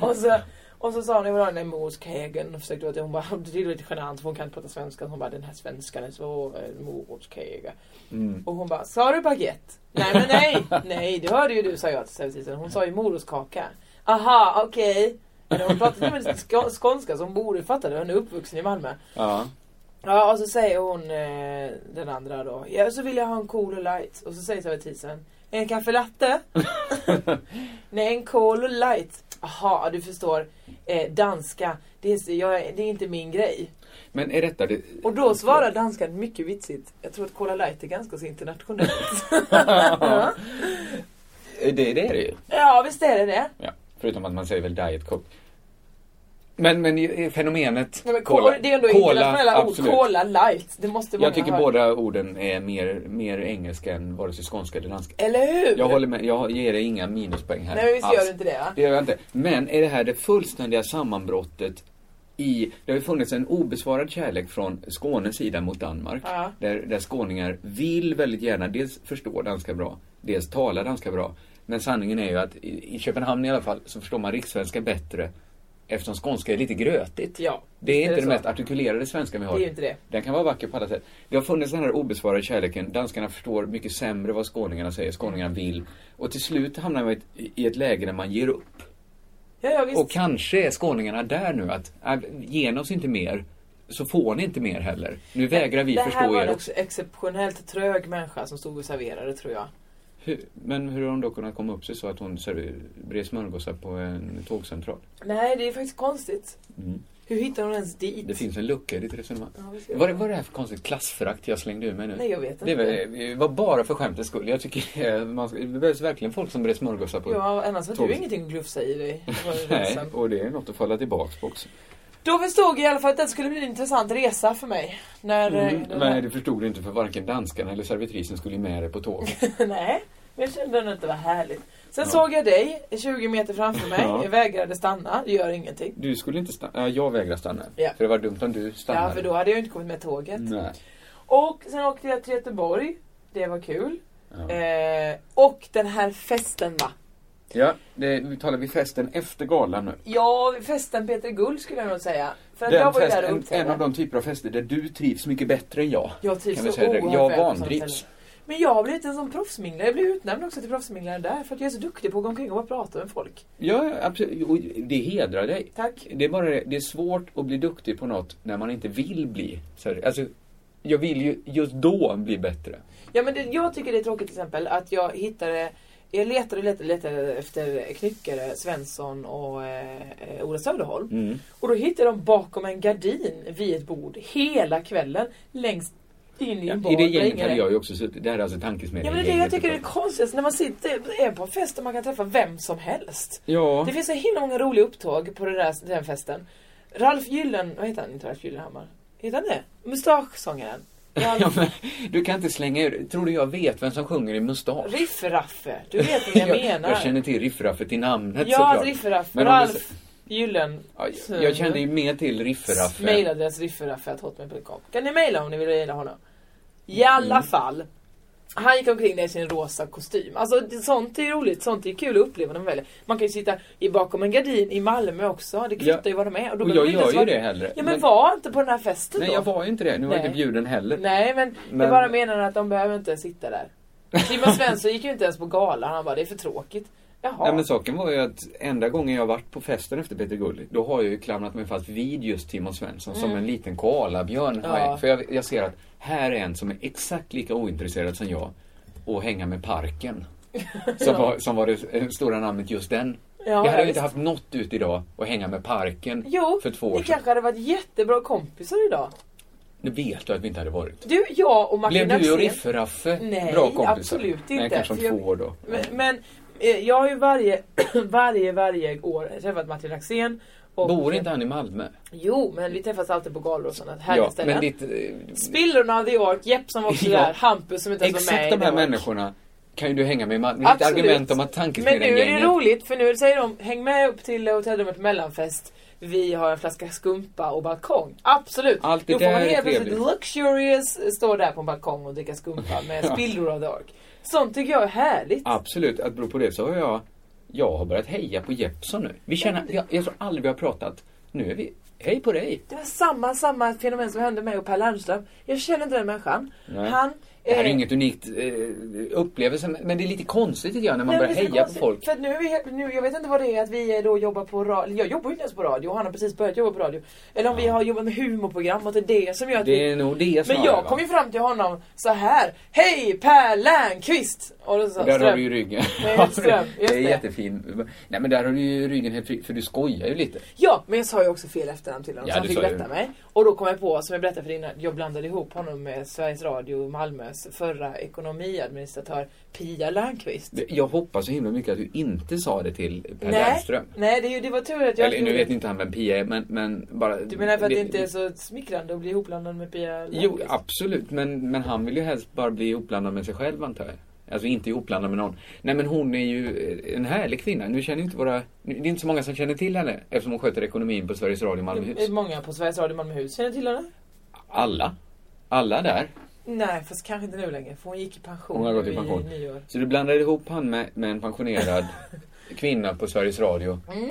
Speaker 8: Och så, och så sa hon, jag vill ha den där morotskegen. Och försökte att hon bara, det är lite genant för hon kan inte prata svenska. Hon bara, den här svenskan är så eh, morotskega. Och hon bara, sa du baguette? Nej men nej, nej det hörde ju du sa jag till servitrisen. Hon sa ju morotskaka. Aha, okej. Eller hon pratade ju med ska- skånska som borde fatta det. Hon är uppvuxen i Malmö.
Speaker 7: Ja.
Speaker 8: Ja, och så säger hon, eh, den andra då, ja så vill jag ha en cool och light. Och så säger servitrisen, en kaffe latte? Nej, en cool och light. Jaha, du förstår. Eh, danska, det är, så- jag, är- det är inte min grej.
Speaker 7: Men är detta det...
Speaker 8: Och då svarar danskan mycket vitsigt. Jag tror att Cola Light är ganska så internationellt.
Speaker 7: Det, det är det ju.
Speaker 8: ja, visst är det det.
Speaker 7: Ja. Förutom att man säger väl diet coke. Men, men i- i fenomenet...
Speaker 8: Nej, men cola, det är ändå internationella ord.
Speaker 7: absolut.
Speaker 8: Cola Light. Det måste många
Speaker 7: Jag tycker
Speaker 8: ha hört.
Speaker 7: båda orden är mer, mer engelska än vare sig skånska eller danska.
Speaker 8: Eller hur?
Speaker 7: Jag håller med, jag ger dig inga minuspoäng här.
Speaker 8: Nej, men visst
Speaker 7: alls.
Speaker 8: gör du inte det, va?
Speaker 7: Det gör jag inte. Men är det här det fullständiga sammanbrottet i, det har ju funnits en obesvarad kärlek från Skånes sida mot Danmark.
Speaker 8: Ja.
Speaker 7: Där, där skåningar vill väldigt gärna dels förstå danska bra, dels tala danska bra. Men sanningen är ju att i, i Köpenhamn i alla fall så förstår man rikssvenska bättre eftersom skånska är lite grötigt.
Speaker 8: Ja,
Speaker 7: Det är
Speaker 8: visst
Speaker 7: inte
Speaker 8: är
Speaker 7: det,
Speaker 8: det så.
Speaker 7: mest artikulerade svenska vi har.
Speaker 8: Det är ju inte det.
Speaker 7: Den kan vara vacker på alla sätt. Det har funnits den här obesvarade kärleken. Danskarna förstår mycket sämre vad skåningarna säger, skåningarna vill. Och till slut hamnar man i ett- i ett läge där man ger upp.
Speaker 8: Ja, ja, visst.
Speaker 7: Och kanske är skåningarna där nu att, äh, ge oss inte mer, så får ni inte mer heller. Nu vägrar vi
Speaker 8: det här
Speaker 7: förstå
Speaker 8: var
Speaker 7: er
Speaker 8: en
Speaker 7: också.
Speaker 8: ex- exceptionellt trög människa som stod och serverade tror jag.
Speaker 7: Hur, men hur har hon då kunnat komma upp sig så att hon serv- brer smörgåsar på en tågcentral?
Speaker 8: Nej, det är faktiskt konstigt. Hur hittar hon ens dit?
Speaker 7: Mm. Det finns en lucka i ditt resonemang.
Speaker 8: Ja, visst gör
Speaker 7: Vad är vad är det här för konstigt klassförakt jag slängde ur mig nu?
Speaker 8: Nej, jag vet
Speaker 7: Det
Speaker 8: inte.
Speaker 7: var, det var bara för skämtets skull. Jag tycker eh, man, ska- det behövs verkligen folk som brer smörgåsar på.
Speaker 8: Ja, annars har
Speaker 7: Tåg.
Speaker 8: du ingenting att glufsa i dig.
Speaker 7: Nej, och det är något att falla tillbaks på också.
Speaker 8: Då förstod jag i alla fall att det skulle bli en intressant resa för mig. När, eh, den
Speaker 7: Mm. Nej, det förstod du inte för varken danskarna eller servitrisen skulle med dig på tåget.
Speaker 8: Nej, men jag kände ändå att det var härligt. Sen såg jag dig 20 meter framför mig.
Speaker 7: Ja.
Speaker 8: Jag vägrade stanna, det gör ingenting.
Speaker 7: Du skulle inte stanna. Ja, jag vägrar stanna.
Speaker 8: Ja.
Speaker 7: För det var dumt om du stannade.
Speaker 8: Ja, för då hade jag ju inte kommit med tåget.
Speaker 7: Nej.
Speaker 8: Och sen åkte jag till Göteborg. Det var kul. Eh, och den här festen va.
Speaker 7: Ja, det uttalar vi festen efter galan nu.
Speaker 8: Ja, festen Peter Gull skulle jag nog säga. För att jag
Speaker 7: Den
Speaker 8: var ju där och
Speaker 7: festen, en
Speaker 8: uppträdde.
Speaker 7: av de typer av fester där du trivs mycket bättre än jag.
Speaker 8: Jag trivs
Speaker 7: kan vi
Speaker 8: typ så
Speaker 7: säga direkt.
Speaker 8: oerhört
Speaker 7: Jag
Speaker 8: väl på sådana
Speaker 7: vantrivs.
Speaker 8: ställen. Men jag har blivit en sån proffsminglare. Jag blev utnämnd också till proffsminglare där. För att jag är så duktig på att gå omkring och bara prata med folk.
Speaker 7: Ja, ja, absolut. Och det hedrar dig.
Speaker 8: Tack.
Speaker 7: Det är bara det, det är svårt att bli duktig på något när man inte vill bli. Så, här, alltså, jag vill ju just då bli bättre.
Speaker 8: Ja, men det, jag tycker det är tråkigt till exempel att jag hittade Jag letade och letade, och letade efter Knyckare, Svensson och eh, eh, Ola Söderholm.
Speaker 7: Mm.
Speaker 8: Och då hittade de bakom en gardin vid ett bord hela kvällen. Längst in i
Speaker 7: Ja,
Speaker 8: en
Speaker 7: I
Speaker 8: bar.
Speaker 7: det
Speaker 8: där
Speaker 7: gänget
Speaker 8: ingen
Speaker 7: hade
Speaker 8: är.
Speaker 7: jag ju också suttit. Det här är alltså tankesmedjan.
Speaker 8: Ja men det är det jag tycker är det konstigaste. När man sitter är på en fest och man kan träffa vem som helst.
Speaker 7: Ja.
Speaker 8: Det finns så himla många roliga upptåg på det där, den festen. Ralf Gyllen... Vad heter han? Inte Ralf Gyllenhammar. Heter han det? Mustaschsångaren.
Speaker 7: Ja,
Speaker 8: Ralf-
Speaker 7: men, du kan inte slänga ur. Tror du jag vet vem som sjunger i Mustasch?
Speaker 8: Riff-Raffe. Du vet vad jag, menar.
Speaker 7: jag känner till Riffraffe till namnet
Speaker 8: ja,
Speaker 7: såklart.
Speaker 8: Riff-Raffe.
Speaker 7: Men om du
Speaker 8: Ralf
Speaker 7: s-
Speaker 8: Gyllen.
Speaker 7: Ja, jag, jag kände ju eh. mer till Riffraffe.
Speaker 8: Mailadress riffraffe.hotmail.com Kan ni mejla om ni vill mejla honom? I alla
Speaker 7: Mm.
Speaker 8: fall. Han gick omkring där i sin rosa kostym. Alltså det- sånt är roligt, sånt är kul att uppleva när man väljer. Man kan ju sitta i bakom en gardin i Malmö också. Det kvittar
Speaker 7: Ja.
Speaker 8: ju var de är. då
Speaker 7: Och
Speaker 8: behöver
Speaker 7: jag
Speaker 8: man inte ens
Speaker 7: gör ju
Speaker 8: vara-
Speaker 7: det hellre.
Speaker 8: Ja men,
Speaker 7: Men-
Speaker 8: var inte på den här festen
Speaker 7: Nej,
Speaker 8: då.
Speaker 7: jag var ju inte det. Nu var jag
Speaker 8: Nej.
Speaker 7: inte bjuden heller.
Speaker 8: Nej men, jag
Speaker 7: Men-
Speaker 8: bara menar att de behöver inte sitta där. Simon Svensson gick ju inte ens på galan. Han bara det är för tråkigt. Jaha.
Speaker 7: Nej men saken var ju att enda gången jag varit på festen efter Peter Gulli, då har jag ju klamrat mig fast vid just Timon Svensson som en liten koalabjörn.
Speaker 8: Mm. Ja.
Speaker 7: För jag, jag ser att här är en som är exakt lika ointresserad som jag och hänga med parken. Som, var, som var det eh, stora namnet just den.
Speaker 8: Ja,
Speaker 7: jag
Speaker 8: ja,
Speaker 7: hade ju
Speaker 8: visst.
Speaker 7: inte haft något ut idag och hänga med parken
Speaker 8: Jo,
Speaker 7: för två år
Speaker 8: ni
Speaker 7: sedan.
Speaker 8: kanske hade varit jättebra kompisar idag.
Speaker 7: Nu vet du att vi inte hade varit.
Speaker 8: Du, jag och Martin
Speaker 7: Blev du och
Speaker 8: Axén-
Speaker 7: Riffe-Raffe
Speaker 8: Nej,
Speaker 7: bra kompisar?
Speaker 8: absolut inte.
Speaker 7: Nej, kanske om
Speaker 8: För jag-
Speaker 7: två år då.
Speaker 8: Men, men eh, jag har ju varje, varje, varje år träffat Martin Axén. Och,
Speaker 7: Bor inte han i Malmö?
Speaker 8: Jo, men vi träffas alltid på galor och sådana härliga
Speaker 7: Ja,
Speaker 8: ställen.
Speaker 7: men ditt... eh,
Speaker 8: Spillrorna av The Ork, Jepp som var också
Speaker 7: Ja.
Speaker 8: där, Hampus som inte ens var med
Speaker 7: Exakt
Speaker 8: i
Speaker 7: de
Speaker 8: The
Speaker 7: här
Speaker 8: Ork.
Speaker 7: människorna kan ju du hänga med i Malmö. Ditt
Speaker 8: Absolut.
Speaker 7: argument om att
Speaker 8: Men nu är det
Speaker 7: tankesmedjan-gänget...
Speaker 8: roligt för nu säger de häng med upp till hotellrummet mellanfest. Vi har en flaska skumpa och balkong. Absolut!
Speaker 7: Allt det
Speaker 8: Då får man
Speaker 7: där är
Speaker 8: helt plötsligt
Speaker 7: trevligt.
Speaker 8: luxurious stå där på en balkong och dricka skumpa med spillror av The Ork. Sånt tycker jag är härligt.
Speaker 7: Absolut, att bero på det så har jag... Jag har börjat heja på Jeppson nu. Vi känner... Jag, jag tror aldrig vi har pratat. Nu är vi... Hej på dig!
Speaker 8: Det var samma, samma fenomen som hände mig och Per Lernström. Jag känner inte den människan.
Speaker 7: Nej.
Speaker 8: Han...
Speaker 7: Det här är
Speaker 8: eh,
Speaker 7: inget unikt eh, upplevelse, men men det är lite konstigt tycker jag när man
Speaker 8: nej,
Speaker 7: börjar
Speaker 8: men det är så
Speaker 7: heja på
Speaker 8: konstigt,
Speaker 7: folk.
Speaker 8: För att nu är vi, helt- nu, jag vet inte vad det är att vi eh, då jobbar på radio. Jag jobbar ju inte ens på radio. Han har precis börjat jobba på radio. Eller om vi har jobbat med humorprogram och att det är det som gör att vi...
Speaker 7: Det är nog det snarare.
Speaker 8: Men jag
Speaker 7: va?
Speaker 8: kom ju fram till honom så här. Hej Per Lernqvist! Och då sa
Speaker 7: Där har
Speaker 8: Ström.
Speaker 7: du ju ryggen.
Speaker 8: Nej, just det.
Speaker 7: det är
Speaker 8: Just det.
Speaker 7: jättefin. Nej men där har du ju ryggen helt fri, för du skojar ju lite.
Speaker 8: Ja, men jag sa ju också fel efternamn till honom
Speaker 7: Ja,
Speaker 8: så han
Speaker 7: du
Speaker 8: fick
Speaker 7: sa ju.
Speaker 8: rätta mig. Och då kom jag på, som jag berättade för dig innan, jag blandade ihop honom med Sveriges Radio Malmös förra ekonomiadministratör Pia Landqvist.
Speaker 7: Det- Jag hoppas så himla mycket att du inte sa det till Per
Speaker 8: Nej,
Speaker 7: Lernström.
Speaker 8: nej det, är ju- det var tur att jag
Speaker 7: Eller nu
Speaker 8: gjorde
Speaker 7: vet
Speaker 8: det.
Speaker 7: inte han vem Pia är, men, men bara...
Speaker 8: Du menar för att det inte är så smickrande att bli ihopblandad med Pia Landqvist?
Speaker 7: Jo, absolut. Men, men han vill ju helst bara bli ihopblandad med sig själv, antar jag. Alltså inte ihopblandad med någon. Nej, men hon är ju eh, en härlig kvinna. Nu känner ju inte våra... nu- Det är inte så många som känner till henne eftersom hon sköter ekonomin på Sveriges Radio
Speaker 8: Det är
Speaker 7: Malmöhus.
Speaker 8: Många på Sveriges Radio Malmöhus känner till henne.
Speaker 7: Alla. Alla där.
Speaker 8: Nej, fast kanske inte nu längre för hon gick i pension
Speaker 7: Hon har gått
Speaker 8: nu
Speaker 7: i pension.
Speaker 8: nyår.
Speaker 7: Så du blandar ihop han med, med en pensionerad kvinna på Sveriges Radio. Eh, Men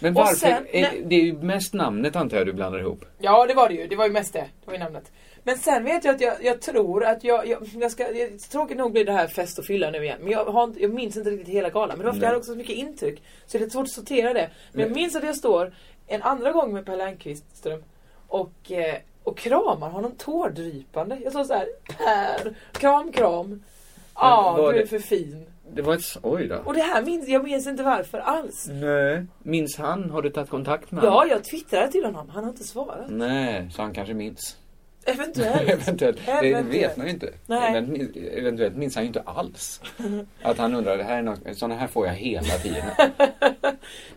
Speaker 8: Mm. Och
Speaker 7: varför?
Speaker 8: sen-
Speaker 7: är, det är ju mest namnet antar jag du blandar ihop.
Speaker 8: Ja, det var det ju. Det var ju mest det. Det var ju namnet. Men sen vet jag att jag, jag tror att jag, jag, jag ska, jag, tråkigt nog blir det här fest och fylla nu igen. Men jag, har, inte- jag minns inte riktigt hela galan. Men det var för jag hade också så mycket intryck. Så det är lite svårt att sortera det. Men jag minns att jag står en andra gång med Per Lernqvistström och, eh, och kramar honom tårdrypande. Jag sa så här, Per, kram kram. Ja,
Speaker 7: var
Speaker 8: du är
Speaker 7: det-
Speaker 8: för fin.
Speaker 7: Det var ett... s- Oj då.
Speaker 8: Och det här minns jag minns inte varför alls.
Speaker 7: Nej. Minns han? Har du tagit kontakt med
Speaker 8: Ja,
Speaker 7: han?
Speaker 8: jag twittrade till honom. Han har inte svarat.
Speaker 7: Nej, så han kanske minns.
Speaker 8: Eventuellt.
Speaker 7: Eventuellt. Det
Speaker 8: Eventuellt.
Speaker 7: vet man ju inte.
Speaker 8: Nej.
Speaker 7: Event- min- Eventuellt minns han ju inte alls. Att han undrar, det här är något, sådana här får jag hela tiden.
Speaker 8: Nej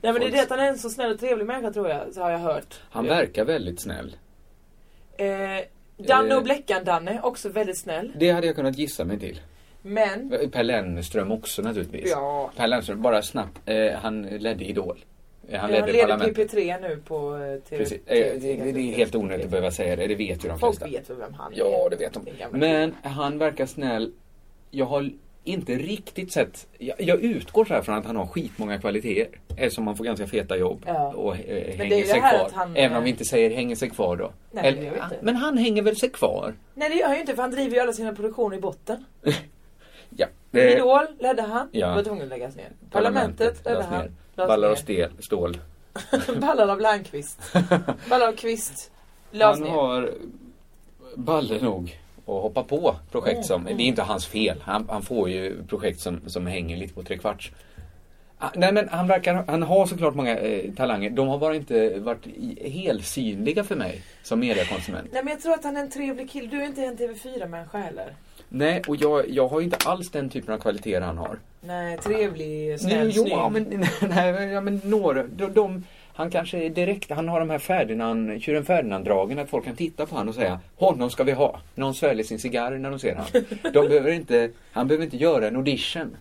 Speaker 8: men det är det att han är en så snäll och trevlig människa tror jag, så har jag hört.
Speaker 7: Han verkar väldigt snäll.
Speaker 8: Eh, Danne och
Speaker 7: Eh.
Speaker 8: Bleckan-Danne, också väldigt snäll.
Speaker 7: Det hade jag kunnat gissa mig till.
Speaker 8: Men,
Speaker 7: Per Lennström också naturligtvis.
Speaker 8: Ja.
Speaker 7: Per Lennström, bara snabbt. Eh, han ledde Idol. Eh, han
Speaker 8: han
Speaker 7: ledde
Speaker 8: leder
Speaker 7: parlamentet.
Speaker 8: PP3 nu på eh, TV.
Speaker 7: Precis. Eh, det, det, det är helt onödigt att behöva säga det, det vet ju de
Speaker 8: Folk
Speaker 7: flesta.
Speaker 8: vet väl vem han är?
Speaker 7: Ja, det vet de.
Speaker 8: Den gamla
Speaker 7: Men han verkar snäll. Jag har inte riktigt sett... Jag, jag utgår så här från att han har skitmånga kvaliteter. Eftersom han får ganska feta jobb.
Speaker 8: Ja.
Speaker 7: Och eh,
Speaker 8: det är
Speaker 7: hänger
Speaker 8: ju
Speaker 7: sig
Speaker 8: det här
Speaker 7: kvar.
Speaker 8: att han,
Speaker 7: Även
Speaker 8: eh,
Speaker 7: om vi inte säger hänger sig kvar då.
Speaker 8: Nej, det gör vi inte.
Speaker 7: Men han hänger väl sig kvar?
Speaker 8: Nej det gör han ju inte för han driver ju alla sina produktioner i botten.
Speaker 7: Ja. Eh,
Speaker 8: Idol ledde han,
Speaker 7: Ja.
Speaker 8: var tvungen att läggas ner. Parlamentet ledde
Speaker 7: lades ner.
Speaker 8: han,
Speaker 7: Ballar och
Speaker 8: lades ner.
Speaker 7: stel, stål.
Speaker 8: Ballar av Landqvist. Ballar av Kvist, lades
Speaker 7: Han
Speaker 8: ner.
Speaker 7: har baller nog. och hoppa på projekt som, det är inte hans fel, han, han får ju projekt som, som hänger lite på trekvarts. Ah, Nej men han verkar, han har såklart många eh, talanger, de har bara inte varit i- helsynliga för mig som mediekonsument.
Speaker 8: Nej men jag tror att han är en trevlig kille. Du är inte en TV4-människa heller.
Speaker 7: Nej och jag, jag har inte alls den typen av kvaliteter han har.
Speaker 8: Nej, trevlig,
Speaker 7: Nej,
Speaker 8: snäll,
Speaker 7: jo,
Speaker 8: snygg.
Speaker 7: ja, men, nej, men- ja, men några, de, de, han kanske är direkt, han har de här Ferdinand, tjuren Ferdinand-dragen att folk kan titta på han och säga honom ska vi ha. Någon sväljer sin cigarr när de ser han. De behöver inte, han behöver inte göra en audition.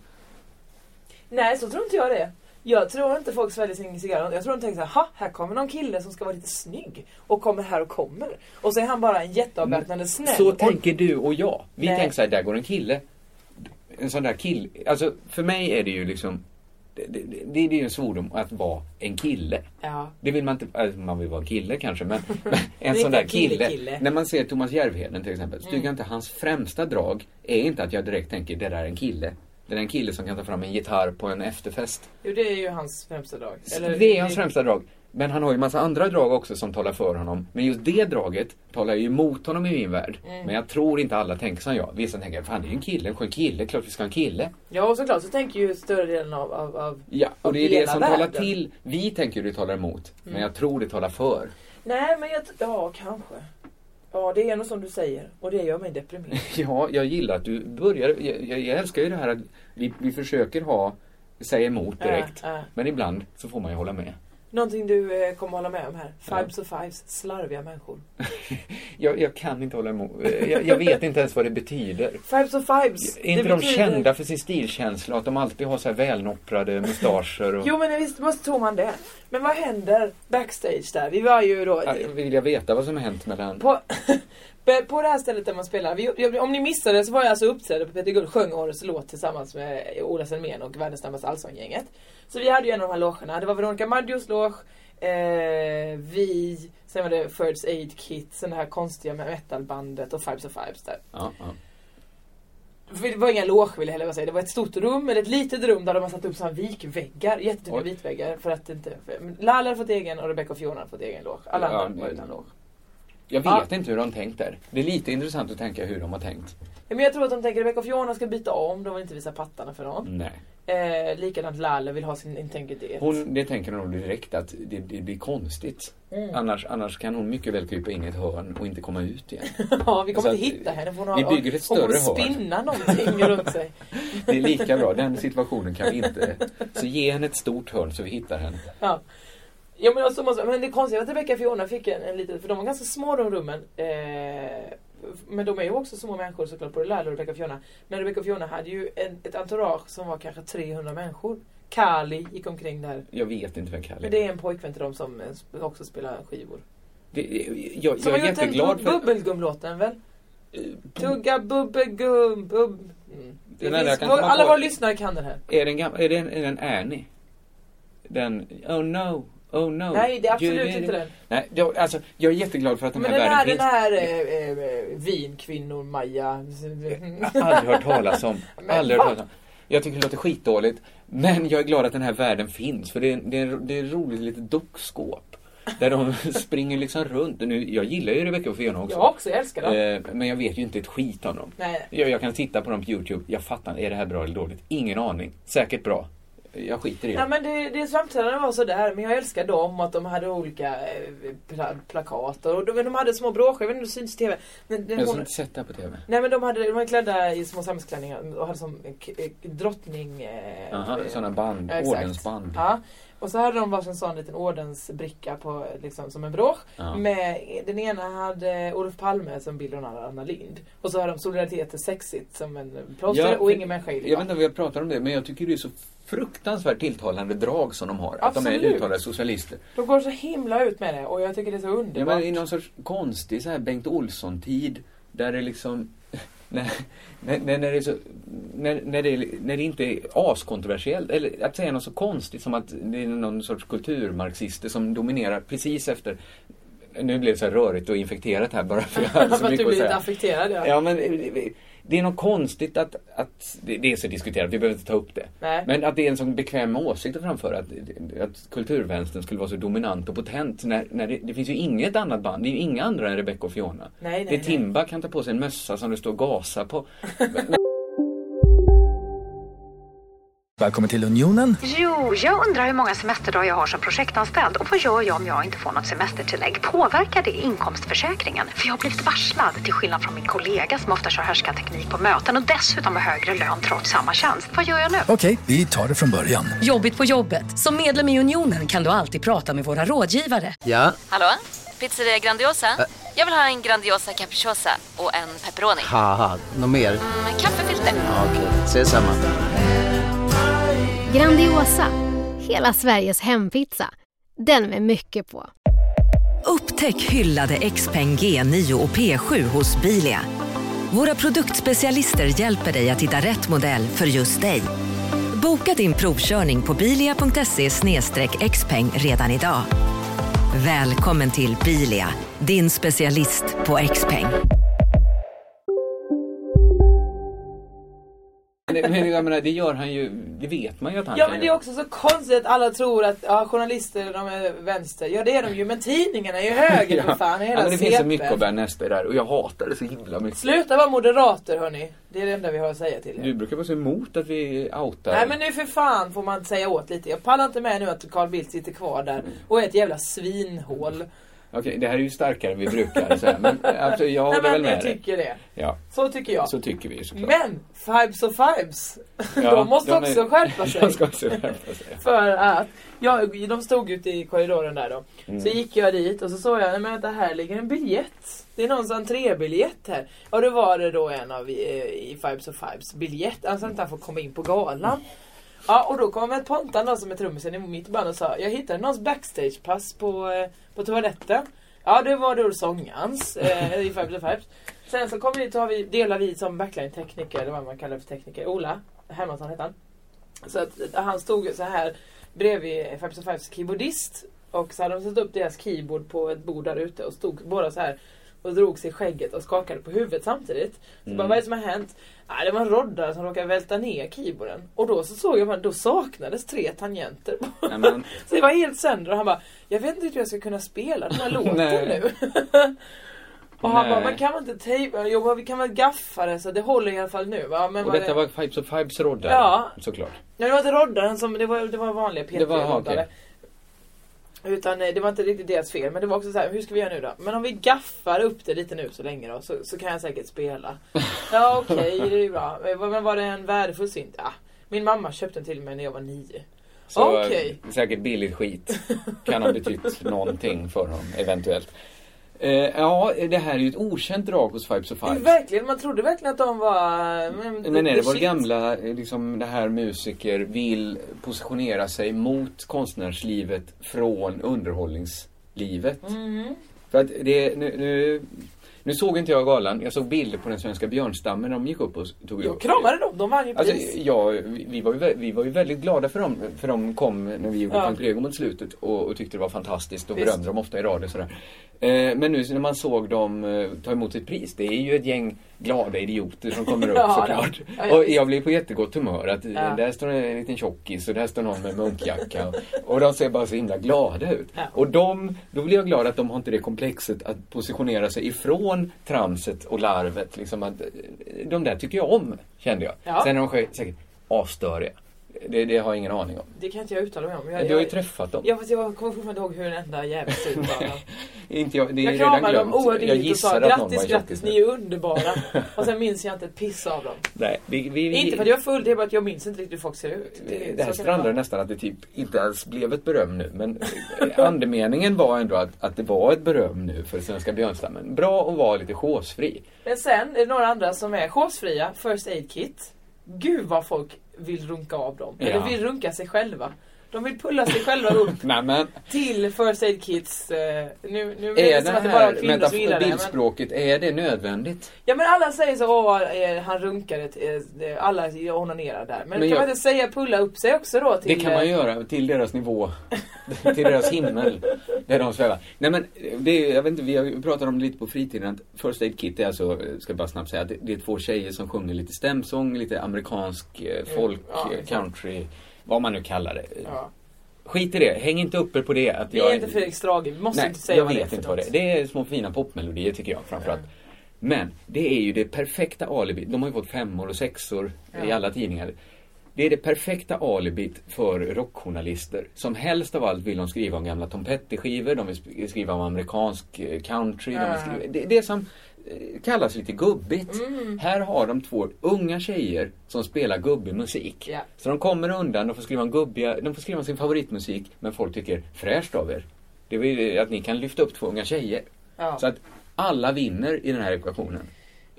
Speaker 8: Nej, så tror inte jag det. Jag tror inte folk sväljer sin cigarr. Jag tror de tänker så här, "Ha, här kommer någon kille som ska vara lite snygg och kommer här och kommer. Och så är han bara en jätteavväpnande snäll.
Speaker 7: Mm. Så
Speaker 8: och...
Speaker 7: tänker du och jag. Vi
Speaker 8: Nej.
Speaker 7: tänker så här, där går en kille. En sån där kille. Alltså för mig är det ju liksom, det, det, det är ju en svordom att vara en kille.
Speaker 8: Ja.
Speaker 7: Det vill man inte, alltså, man vill vara en kille kanske men en
Speaker 8: inte
Speaker 7: sån där
Speaker 8: en kille,
Speaker 7: kille,
Speaker 8: kille. Mm.
Speaker 7: När man ser Thomas Järvheden till exempel så tycker jag inte hans främsta drag är inte att jag direkt tänker det där är en kille. Det där är en kille som kan ta fram en gitarr på en efterfest.
Speaker 8: Jo, det är ju hans främsta dag.
Speaker 7: det är hans främsta drag. Men han har ju massa andra drag också som talar för honom. Men just det draget talar ju emot honom i min värld.
Speaker 8: Mm.
Speaker 7: Men jag tror inte alla tänker som jag. Vissa tänker, fan det är ju en kille, en skön kille, klart vi ska ha en kille.
Speaker 8: Ja, och såklart så tänker ju större delen av... av, av
Speaker 7: Ja, och
Speaker 8: av
Speaker 7: det är det
Speaker 8: hela
Speaker 7: som talar
Speaker 8: världen. Mm.
Speaker 7: till. Vi tänker ju det talar emot. Men jag tror det talar för.
Speaker 8: Nej, men jag... Ja, kanske. Ja, det är nog som du säger. Och det gör mig deprimerad.
Speaker 7: Ja, jag gillar att du börjar. Jag, jag, jag älskar ju det här att vi, vi försöker ha, säga emot direkt.
Speaker 8: Äh, äh.
Speaker 7: Men ibland så får man ju hålla med.
Speaker 8: Någonting du eh, kommer hålla med om här. Fibes och fives, slarviga människor.
Speaker 7: Jag, jag kan inte hålla emot. eh, Jag, jag vet inte ens vad det betyder.
Speaker 8: Fibes och fives!
Speaker 7: Är inte
Speaker 8: det
Speaker 7: de
Speaker 8: betyder-
Speaker 7: kända för sin stilkänsla? Att de alltid har så här välnopprade mustascher och...
Speaker 8: Jo men visst måste tror man det. Men vad händer backstage där? Vi var ju då...
Speaker 7: Ja, Ah, Vill jag veta vad som har hänt mellan...
Speaker 8: På, på det här stället där man spelar. Vi, jag- om ni missade så var jag alltså uppträdde på Peter Guld sjöng årets låt tillsammans med Ola Selmén och världens snabbaste allsånggänget. Så vi hade ju en av de här logerna. Det var Veronica Maggios loge, eh, vi, sen var det First Aid Kit, sen det här konstiga med metalbandet och Fibes och Fibes där.
Speaker 7: Ja, ja.
Speaker 8: För Det var inga loge vill jag heller bara säga. Det var ett stort rum, eller ett litet rum där de har satt upp såna vikväggar. Jättetynga
Speaker 7: Oj.
Speaker 8: vitväggar. För att inte... för- men Lala har fått egen och Rebecca och Fiona har fått egen loge. Alla
Speaker 7: Ja,
Speaker 8: andra var
Speaker 7: nej.
Speaker 8: utan loge.
Speaker 7: Jag
Speaker 8: Ja.
Speaker 7: vet inte hur de tänkt där. Det är lite intressant att tänka hur de har tänkt.
Speaker 8: Ja, Men jag tror att de tänker Rebecca och Fiona ska byta om. De vill inte visa pattarna för någon.
Speaker 7: Nej.
Speaker 8: Eh, likadant Lala vill ha sin integritet.
Speaker 7: Hon, det tänker hon nog direkt att det, det blir konstigt.
Speaker 8: Mm.
Speaker 7: Annars, annars kan hon mycket väl krypa in i ett hörn och inte komma ut igen.
Speaker 8: ja, vi kommer
Speaker 7: Så
Speaker 8: inte
Speaker 7: att
Speaker 8: hitta henne. för Hon har,
Speaker 7: Alltså, vi bygger ett
Speaker 8: hon kommer
Speaker 7: större hörn.
Speaker 8: spinna någonting runt sig.
Speaker 7: Det är lika bra, den situationen kan vi inte... Så ge henne ett stort hörn så vi hittar henne.
Speaker 8: Ja. Ja, men, också måste, men det konstiga var att Rebecca och Fiona fick en, en liten, för de var ganska små de rummen. Eh, men de är ju också små människor såklart, både Lalo och Rebecca och Fiona. Men Rebecca och Fiona hade ju en, ett entourage som var kanske 300 människor. Kali gick omkring där.
Speaker 7: Jag vet inte vem
Speaker 8: Men
Speaker 7: Kalle
Speaker 8: det
Speaker 7: är.
Speaker 8: är en pojkvän till dem som eh, sp- också spelar skivor.
Speaker 7: Det, jag,
Speaker 8: Som
Speaker 7: jag är
Speaker 8: har gjort den
Speaker 7: jätteglad för... Eh,
Speaker 8: bubbelgumlåten väl? Tugga bubbelgum, bubb... Mm. Det
Speaker 7: Den enda
Speaker 8: finns,
Speaker 7: jag kan komma
Speaker 8: alla
Speaker 7: på-
Speaker 8: våra lyssnare kan den här.
Speaker 7: Är den gammal? Är den, är den Annie? Den... Oh no, oh no.
Speaker 8: Nej, det är absolut
Speaker 7: You did
Speaker 8: inte
Speaker 7: it.
Speaker 8: den.
Speaker 7: Nej, jag, alltså, jag är jätteglad för att den
Speaker 8: Men
Speaker 7: här
Speaker 8: den här,
Speaker 7: världen
Speaker 8: den
Speaker 7: finns.
Speaker 8: här eh, eh, vinkvinnor, Maja...
Speaker 7: Jag har aldrig hört talas om.
Speaker 8: Men
Speaker 7: Aldrig
Speaker 8: va?
Speaker 7: hört talas om. Jag tycker det låter skitdåligt. Men jag är glad att den här världen finns. För det är, det är, det är ett roligt litet dockskåp. Där de springer liksom runt. Och Nu, jag gillar ju Rebecca och Fiona också.
Speaker 8: Jag också, jag älskar dem.
Speaker 7: Eh, men jag vet ju inte ett skit om dem.
Speaker 8: Nej.
Speaker 7: Jag, jag kan titta på dem på Youtube. Jag fattar, är det här bra eller dåligt? Ingen aning. Säkert bra. Jag skiter i det.
Speaker 8: Nej men det, det framträdande var sådär, men jag älskar dem och att de hade olika eh, pla, plakat och de, de hade små broscher, jag vet inte om det syns i TV. Men, men
Speaker 7: jag har
Speaker 8: hon,
Speaker 7: inte sett det här på TV.
Speaker 8: nej men de, hade, de var klädda i små samhällsklänningar och hade som eh, k- eh, drottning... eh,
Speaker 7: Jaha,
Speaker 8: eh,
Speaker 7: sådana band.
Speaker 8: Ja, exakt.
Speaker 7: Ordensband.
Speaker 8: Ja. Och så hade de varsin sån liten ordensbricka på, liksom, som en brosch.
Speaker 7: Ja.
Speaker 8: Med, den ena hade Olof Palme som bild och den andra Anna Lind. Och så hade de solidaritet är sexigt som en plåster och
Speaker 7: för-
Speaker 8: ingen människa
Speaker 7: Jag
Speaker 8: gillar.
Speaker 7: vet inte om vi har pratat om det, men jag tycker det är så fruktansvärt tilltalande drag som de har. Att de är
Speaker 8: Absolut.
Speaker 7: uttalade socialister.
Speaker 8: De går så himla ut med det och jag tycker det är så
Speaker 7: Ja,
Speaker 8: underbart.
Speaker 7: men i någon sorts konstig så här Bengt Olsson-tid där det liksom... När, när, när, det är så, när, när, det, är- när det inte är askontroversiellt. Eller att säga något så konstigt som att det är någon sorts kulturmarxister som dominerar precis efter... Nu blev det så här rörigt och infekterat här bara för jag hade så
Speaker 8: För att
Speaker 7: mycket
Speaker 8: du
Speaker 7: att
Speaker 8: blir lite
Speaker 7: säga.
Speaker 8: affekterad ja.
Speaker 7: Ja men eh, Det är något konstigt att, att det, det är så diskuterat, vi behöver inte ta upp det.
Speaker 8: Nej.
Speaker 7: Men att det är en sån bekväm åsikt att framföra, att, att kulturvänstern skulle vara så dominant och potent. När, när det, det finns ju inget annat band, det är ju inga andra än Rebecca och Fiona.
Speaker 8: Nej, nej,
Speaker 7: det är
Speaker 8: nej.
Speaker 7: Timba kan ta på sig en mössa som det står Gasa på.
Speaker 1: Välkommen till Unionen.
Speaker 9: Jo, jag undrar hur många semesterdagar jag har som projektanställd och vad gör jag om jag inte får något semestertillägg? Påverkar det inkomstförsäkringen? För jag har blivit varslad, till skillnad från min kollega som ofta kör härskarteknik på möten och dessutom har högre lön trots samma tjänst. Vad gör jag nu?
Speaker 1: Okej, vi tar det från början.
Speaker 10: Jobbigt på jobbet. Som medlem i Unionen kan du alltid prata med våra rådgivare.
Speaker 11: Ja,
Speaker 12: Hallå? Pizzeria Grandiosa? Jag vill ha en Grandiosa capriciosa och en pepperoni.
Speaker 11: haha, något mer?
Speaker 12: Med kaffefilter.
Speaker 11: Ja, Okej, ses samma.
Speaker 13: Grandiosa, hela Sveriges hempizza. Den med mycket på.
Speaker 10: Upptäck hyllade XPeng G9 och P7 hos Bilia. Våra produktspecialister hjälper dig att hitta rätt modell för just dig. Boka din provkörning på bilia.se xpeng redan idag. Välkommen till Bilia, din specialist på XPeng.
Speaker 7: Men, men jag menar, det gör han ju, det vet man ju att han
Speaker 8: Ja
Speaker 7: kan
Speaker 8: men det är
Speaker 7: göra.
Speaker 8: också så konstigt att alla tror att ja, journalister de är vänster. Ja det är de ju men tidningarna är ju höger för fan. Hela
Speaker 7: ja, men det finns så
Speaker 8: CP.
Speaker 7: mycket att bära nästa där och jag hatar det så himla mycket.
Speaker 8: Sluta vara moderater hörni. Det är det enda vi har att säga till er.
Speaker 7: Du brukar vara så emot att vi outar.
Speaker 8: Nej men nu för fan får man säga åt lite. Jag pallar inte med nu att Carl Bildt sitter kvar där
Speaker 7: Mm.
Speaker 8: och är ett jävla svinhål.
Speaker 7: Okej, det här är ju starkare än vi brukar. Så här, men absolut, jag
Speaker 8: Nej
Speaker 7: håller väl
Speaker 8: men
Speaker 7: med
Speaker 8: jag
Speaker 7: dig.
Speaker 8: tycker det.
Speaker 7: Ja,
Speaker 8: Så tycker jag.
Speaker 7: så tycker vi ju såklart.
Speaker 8: Men Fibes och Fibes.
Speaker 7: Ja,
Speaker 8: de måste
Speaker 7: de är-
Speaker 8: också skärpa sig.
Speaker 7: De ska också skärpa sig.
Speaker 8: För att jag, de stod ute i korridoren där då. Så gick jag dit och så såg jag, nej men vänta här ligger en biljett. Det är någons entrébiljett här. Och då var det då en av eh, i Fibes och Fibes biljett. Alltså att inte han får komma in på galan. Ja och då kom en Pontan då som är trummisen i mitt band och sa, jag hittade någons backstagepass på, eh, på toaletten. Ja det var då sångarens eh, i Fibes och Fibes. Sen så kom vi, tar vi, delar vi som backline-tekniker, eller vad man kallar för tekniker, Ola Hermansson hette han. Så att eh, han stod ju så här bredvid Fabs Fabs keyboardist. Och så hade de satt upp deras keyboard på ett bord där ute och stod båda så här och drog sig i skägget och skakade på huvudet samtidigt. Så bara, vad är det som har hänt? Ah, det var en roddare som råkade välta ner keyboarden. Och då så såg jag att då saknades tre tangenter.
Speaker 7: Nej, men-
Speaker 8: så det var helt sönder och han bara, jag vet inte hur jag ska kunna spela den här låten
Speaker 7: Nej.
Speaker 8: nu. och han
Speaker 7: Nej.
Speaker 8: bara, man kan väl inte tejpa, jo men vi kan väl gaffa det så det håller i alla fall nu. Va? Men
Speaker 7: Och
Speaker 8: vad
Speaker 7: detta
Speaker 8: det-
Speaker 7: var Fibes of Fibes roddar.
Speaker 8: Ja.
Speaker 7: Såklart.
Speaker 8: Ja, det var inte roddaren som, det var, det var vanliga
Speaker 7: Det var- ja,
Speaker 8: P3-roddare. Utan eh, det var inte riktigt deras fel. Men det var också så här, hur ska vi göra nu då? Men om vi gaffar upp det lite nu så länge då så, så kan jag säkert spela. Ja okej, det är ju bra. Eh, vad- Men var det en värdefull synt? Ja. Min mamma köpte den till mig när jag var nio.
Speaker 7: Så
Speaker 8: Okej.
Speaker 7: eh, säkert billigt skit. Kan ha betytt någonting för honom, eventuellt. Eh, ja, det här är ju ett okänt drag hos Fibes of Fibes.
Speaker 8: Verkligen, man trodde verkligen att de var... eh, Men,
Speaker 7: Men är det
Speaker 8: the
Speaker 7: vår
Speaker 8: shit.
Speaker 7: gamla, eh, liksom det här musiker vill positionera sig mot konstnärslivet från underhållningslivet?
Speaker 8: Mm-hmm.
Speaker 7: För att det, nu, nu, nu såg inte jag galan, jag såg bilder på den svenska björnstammen när de gick upp och s- tog
Speaker 8: Jag
Speaker 7: upp.
Speaker 8: kramade dem, de vann ju
Speaker 7: Alltså,
Speaker 8: pris.
Speaker 7: ja, vi vi var, ju, vä- vi var ju väldigt glada för dem, för de kom när vi gjorde
Speaker 8: Ja.
Speaker 7: Pantelego mot slutet och, och tyckte det var fantastiskt och
Speaker 8: Visst.
Speaker 7: berömde dem ofta i radio och sådär. Eh, men nu när man såg dem eh, ta emot sitt pris, det är ju ett gäng glada idioter som kommer upp
Speaker 8: Ja,
Speaker 7: såklart.
Speaker 8: ja. Ja, ja,
Speaker 7: och
Speaker 8: visst.
Speaker 7: jag blir på jättegott humör att eh,
Speaker 8: Ja.
Speaker 7: där står en liten tjockis och där står någon med munkjacka och, och de ser bara så himla glada ut.
Speaker 8: Ja.
Speaker 7: Och de, då blir jag glad att de har inte det komplexet att positionera sig ifrån tramset och larvet. Liksom att, eh, de där tycker jag om, kände jag.
Speaker 8: Ja.
Speaker 7: Sen är de sä- säkert asstöriga. Det, det har jag ingen aning om.
Speaker 8: Det kan inte jag uttala mig om. Jag,
Speaker 7: Du har ju
Speaker 8: jag-
Speaker 7: träffat dem.
Speaker 8: Ja fast jag kommer fortfarande ihåg hur en enda jävel såg ut. bara.
Speaker 7: Inte jag, det är
Speaker 8: Jag
Speaker 7: redan
Speaker 8: kramade
Speaker 7: glömt.
Speaker 8: dem oerhört och sa
Speaker 7: gissar att någon var
Speaker 8: grattis,
Speaker 7: en
Speaker 8: grattis,
Speaker 7: tjockis
Speaker 8: ni
Speaker 7: nu.
Speaker 8: är underbara. och sen minns jag inte ett piss av dem.
Speaker 7: Nej, vi, vi,
Speaker 8: Inte för att jag är full, det är bara att jag minns inte riktigt hur folk ser ut.
Speaker 7: Det, det här
Speaker 8: är- så kan vara.
Speaker 7: strandade nästan att det typ inte ens blev ett beröm nu men eh, andemeningen var ändå att, att det var ett beröm nu för svenska björnstammen. Bra att vara lite chosefri.
Speaker 8: Men sen är det några andra som är chosefria, First Aid Kit. Gud vad folk vill runka av dem.
Speaker 7: Ja.
Speaker 8: Eller vill runka sig själva. De vill pulla sig själva upp
Speaker 7: Nej, men
Speaker 8: till First Aid Kids. eh, Nu, nu
Speaker 7: är
Speaker 8: är
Speaker 7: det
Speaker 8: det som att det bara
Speaker 7: här
Speaker 8: är kvinnor som
Speaker 7: metaf-
Speaker 8: gillar det. Men,
Speaker 7: bildspråket, är det nödvändigt?
Speaker 8: ja men alla säger så, åh eh, han runkar, ett, eh, alla onanerar där. Men,
Speaker 7: Men
Speaker 8: kan
Speaker 7: jag-
Speaker 8: man inte säga pulla upp sig också då? Till,
Speaker 7: Det kan man
Speaker 8: eh,
Speaker 7: göra till deras nivå. till deras himmel. Där de svävar. Nej men, eh, det är, jag vet inte, vi har ju pratat om det lite på fritiden. Att First Aid Kit är alltså, eh, ska jag bara snabbt säga, det, det är två tjejer som sjunger lite stämsång, lite amerikansk eh, folk,
Speaker 8: Mm, ja,
Speaker 7: eh,
Speaker 8: exakt.
Speaker 7: country, vad man nu kallar det.
Speaker 8: Ja.
Speaker 7: Skit i det, häng inte uppe på det. Att
Speaker 8: Vi
Speaker 7: jag
Speaker 8: är inte Fredrik Strage, vi måste
Speaker 7: Nej,
Speaker 8: inte säga
Speaker 7: jag
Speaker 8: vad det är
Speaker 7: vet
Speaker 8: för
Speaker 7: inte vad det är.
Speaker 8: något.
Speaker 7: Det är små fina popmelodier tycker jag framförallt. Men det är ju det perfekta alibit. De har ju fått femmor och sexor i
Speaker 8: Ja.
Speaker 7: alla tidningar. Det är det perfekta alibit för rockjournalister. Som helst av allt vill de skriva om gamla Tom Petty-skivor, de vill sk- skriva om amerikansk eh, country. De vill
Speaker 8: Ja.
Speaker 7: skriva... det, det som eh, kallas lite gubbigt.
Speaker 8: Mm.
Speaker 7: Här har de två unga tjejer som spelar gubbig musik.
Speaker 8: Ja.
Speaker 7: Så de kommer undan, de får skriva om gubbiga, de får skriva om sin favoritmusik, men folk tycker fräscht av er. Det är ju att ni kan lyfta upp två unga tjejer.
Speaker 8: Ja.
Speaker 7: Så att alla vinner i den här ekvationen.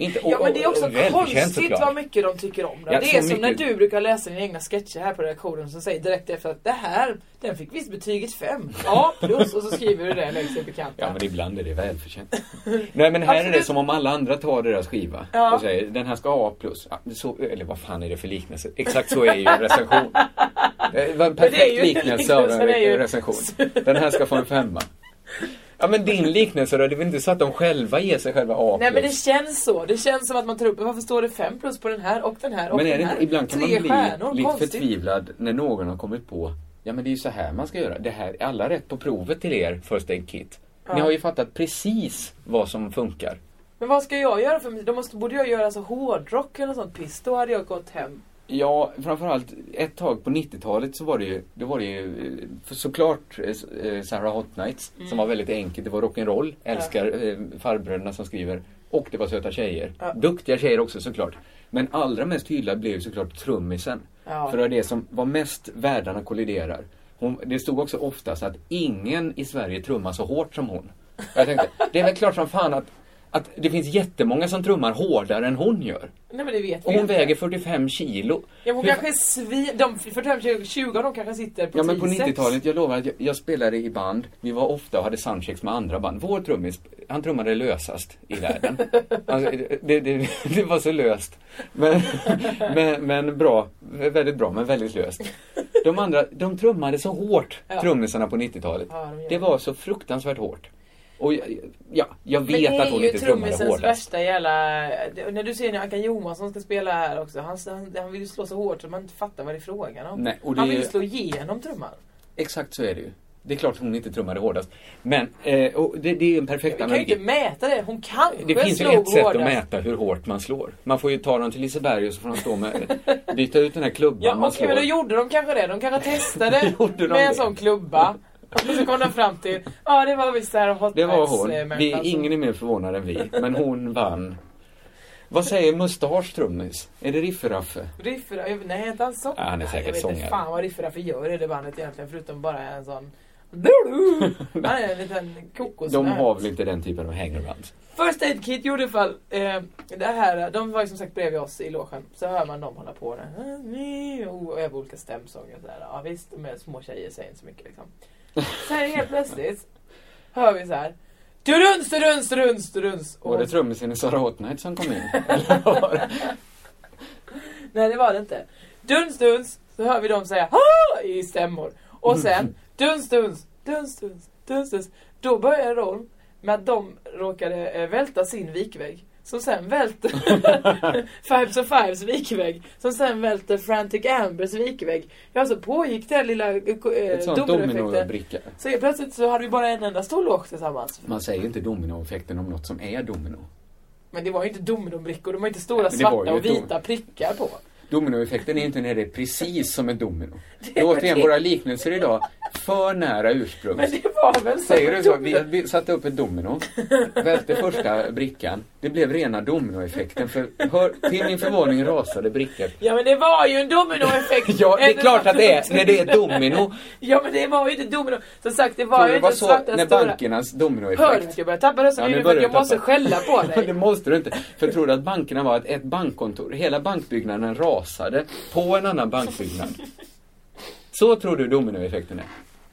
Speaker 7: Inte,
Speaker 8: Ja
Speaker 7: och-
Speaker 8: men det är
Speaker 7: och-
Speaker 8: också
Speaker 7: och välförtjänt
Speaker 8: konstigt
Speaker 7: såklart.
Speaker 8: vad mycket de tycker om det.
Speaker 7: Ja,
Speaker 8: det
Speaker 7: så
Speaker 8: är som när
Speaker 7: mycket.
Speaker 8: du brukar läsa dina egna sketcher här på redaktionen som säger direkt efter att det här, den fick visst betyget 5. Ja, plus och så skriver du det längst upp i kanten.
Speaker 7: Ja men ibland är det välförtjänt. Nej men här är det
Speaker 8: Absolut.
Speaker 7: som om alla andra tar deras skiva
Speaker 8: Ja.
Speaker 7: och säger den här ska ha A+. plus. Ja, så, eller vad fan är det för liknelse? Exakt så är ju en recension. Det var en
Speaker 8: det är
Speaker 7: perfekt
Speaker 8: ju-
Speaker 7: liknelse av en
Speaker 8: liknelsen är ju-
Speaker 7: recension. Den här ska få en femma. Ja men din liknelse då? Det är väl inte så att de själva ger sig själva A+.
Speaker 8: Nej men det känns så. Det känns som att man tar upp, varför står det 5 plus på den här och den här och
Speaker 7: Men är
Speaker 8: den
Speaker 7: det
Speaker 8: här?
Speaker 7: inte, ibland kan man
Speaker 8: Tre
Speaker 7: bli
Speaker 8: stjärnor,
Speaker 7: lite
Speaker 8: konstigt.
Speaker 7: förtvivlad när någon har kommit på Ja men det är ju så här man ska göra. Det här, alla rätt på provet till er First Aid Kit. Ni
Speaker 8: Ja.
Speaker 7: har ju fattat precis vad som funkar.
Speaker 8: Men vad ska jag göra för Då måste, borde jag göra så hårdrock eller sånt piss. Då hade jag gått hem.
Speaker 7: Ja, framförallt ett tag på 90-talet så var det ju, då var det ju eh, för- såklart eh, s- eh, Sarah Hot Nights
Speaker 8: Mm.
Speaker 7: som var väldigt enkelt. Det var rock'n'roll, älskar ja. farbröderna som skriver. Och det var söta tjejer.
Speaker 8: Ja.
Speaker 7: Duktiga tjejer också såklart. Men allra mest hyllad blev ju såklart trummisen.
Speaker 8: Ja.
Speaker 7: För det var det som var mest världarna kolliderar. Hon, det stod också oftast att ingen i Sverige trummar så hårt som hon. Jag tänkte, det är väl klart som fan att, att det finns jättemånga som trummar hårdare än hon gör.
Speaker 8: Nej men det vet
Speaker 7: Och
Speaker 8: vi
Speaker 7: hon
Speaker 8: inte.
Speaker 7: väger 45 kilo.
Speaker 8: Ja, hon
Speaker 7: Hur-
Speaker 8: kanske är svin... De 45, 20, 20 av dem kanske sitter på
Speaker 7: Ja men på
Speaker 8: 10-6.
Speaker 7: 90-talet, jag lovar att jag, jag spelade i band, vi var ofta och hade soundchecks med andra band. Vår trummis, han trummade lösast i världen. Alltså, det, det, det var så löst. Men, men, men bra, väldigt bra men väldigt löst. De andra, de trummade så hårt,
Speaker 8: Ja.
Speaker 7: trummisarna på 90-talet.
Speaker 8: Ja, de gör
Speaker 7: det var så fruktansvärt hårt. Och jag, ja, jag
Speaker 8: Men
Speaker 7: vet att hon inte trummade
Speaker 8: Det är ju trummisens
Speaker 7: hårdast.
Speaker 8: värsta jävla... det- När du ser när Ankan Johansson ska spela här också. Han, han, han vill ju slå så hårt så man inte fattar vad det är frågan om.
Speaker 7: Nej, och det
Speaker 8: Han
Speaker 7: är-
Speaker 8: vill ju slå igenom trumman.
Speaker 7: Exakt så är det ju. Det är klart hon inte trummade hårdast. Men, eh, och det, det är ju en perfekt
Speaker 8: Vi kan ju inte mäta det. Hon kanske
Speaker 7: Det finns ju
Speaker 8: slog
Speaker 7: ett sätt att
Speaker 8: hårdast.
Speaker 7: mäta hur hårt man slår. Man får ju ta dem till Liseberg och så får de stå med, byta ut den här klubban
Speaker 8: Ja,
Speaker 7: man
Speaker 8: okej, men då
Speaker 7: slår.
Speaker 8: gjorde de kanske det. De kanske testade
Speaker 7: Gjorde de
Speaker 8: med
Speaker 7: det?
Speaker 8: en sån klubba. Och så kom de fram till, ja ah, det var visst det här Hot
Speaker 7: Det var
Speaker 8: Nights,
Speaker 7: hon.
Speaker 8: eh,
Speaker 7: Vi,
Speaker 8: Marathon som-
Speaker 7: ingen är mer förvånad än vi, men hon vann. Vad säger Mustasch trummis? Är det Rifferaffe?
Speaker 8: Riffra, nej inte alls sångare.
Speaker 7: Ja, han är säkert
Speaker 8: jag vet inte
Speaker 7: sångare.
Speaker 8: fan vad Riffra för gör i det bandet egentligen förutom bara en sån... Han är en liten kokos.
Speaker 7: De har väl inte den typen av hangarounds?
Speaker 8: First Aid Kit gjorde i alla fall eh, det här. De var ju som sagt bredvid oss i logen. Så hör man dem hålla på där. Ah, oh, Och öva olika stämsånger. och Så här. Ja visst, de är små tjejer säger inte så mycket liksom. Sen helt plötsligt hör vi så här. Duruns, duruns, duruns, duruns. Och
Speaker 7: Var det trummisen i Sarah Hot Night som kom in? Eller var det?
Speaker 8: Nej det var det inte. Duns duns så hör vi dem säga ha i stämmor. Och sen duns duns, duns duns, duns duns. Då börjar de med att de råkade eh, välta sin vikvägg. Som sen välter Fives of Fives vikvägg. Som sen välter Frantic Ambers vikvägg. Ja så pågick den lilla eh,
Speaker 7: Ett sånt
Speaker 8: dominoeffekten.
Speaker 7: dominobricka.
Speaker 8: Så helt plötsligt så hade vi bara en enda stor låg tillsammans.
Speaker 7: Man säger ju inte dominoeffekten om något som är domino.
Speaker 8: Men det var ju inte dominobrickor, de var inte stora
Speaker 7: Nej, men det var
Speaker 8: svarta
Speaker 7: ju
Speaker 8: och
Speaker 7: ett
Speaker 8: vita prickar på.
Speaker 7: Dominoeffekten är ju inte när det är precis som ett domino. Det är återigen våra liknelser idag, för nära
Speaker 8: Men
Speaker 7: ursprunget.
Speaker 8: det var väl så.
Speaker 7: Säger du så? Vi, vi satte upp ett domino, välte första brickan. Det blev rena dominoeffekten för hör, till min förvåning rasade brickor.
Speaker 8: Ja men det var ju en dominoeffekt.
Speaker 7: Ja, det är klart att det är när det är ett domino.
Speaker 8: Ja men det var ju inte domino. Som sagt det var
Speaker 7: Tror
Speaker 8: ju
Speaker 7: du det
Speaker 8: inte
Speaker 7: var
Speaker 8: den
Speaker 7: så
Speaker 8: svarta
Speaker 7: när
Speaker 8: stora.
Speaker 7: bankernas
Speaker 8: Hör du att
Speaker 7: dominoeffekt?
Speaker 8: jag börjar tappa rösten
Speaker 7: Ja,
Speaker 8: nu
Speaker 7: nu
Speaker 8: för att
Speaker 7: börjar
Speaker 8: jag
Speaker 7: du
Speaker 8: måste
Speaker 7: tappa.
Speaker 8: skälla på
Speaker 7: Ja, det
Speaker 8: dig.
Speaker 7: måste du inte. För tror du att bankerna var att ett bankkontor, hela bankbyggnaden rasade på en annan bankbyggnad? Så tror du dominoeffekten är?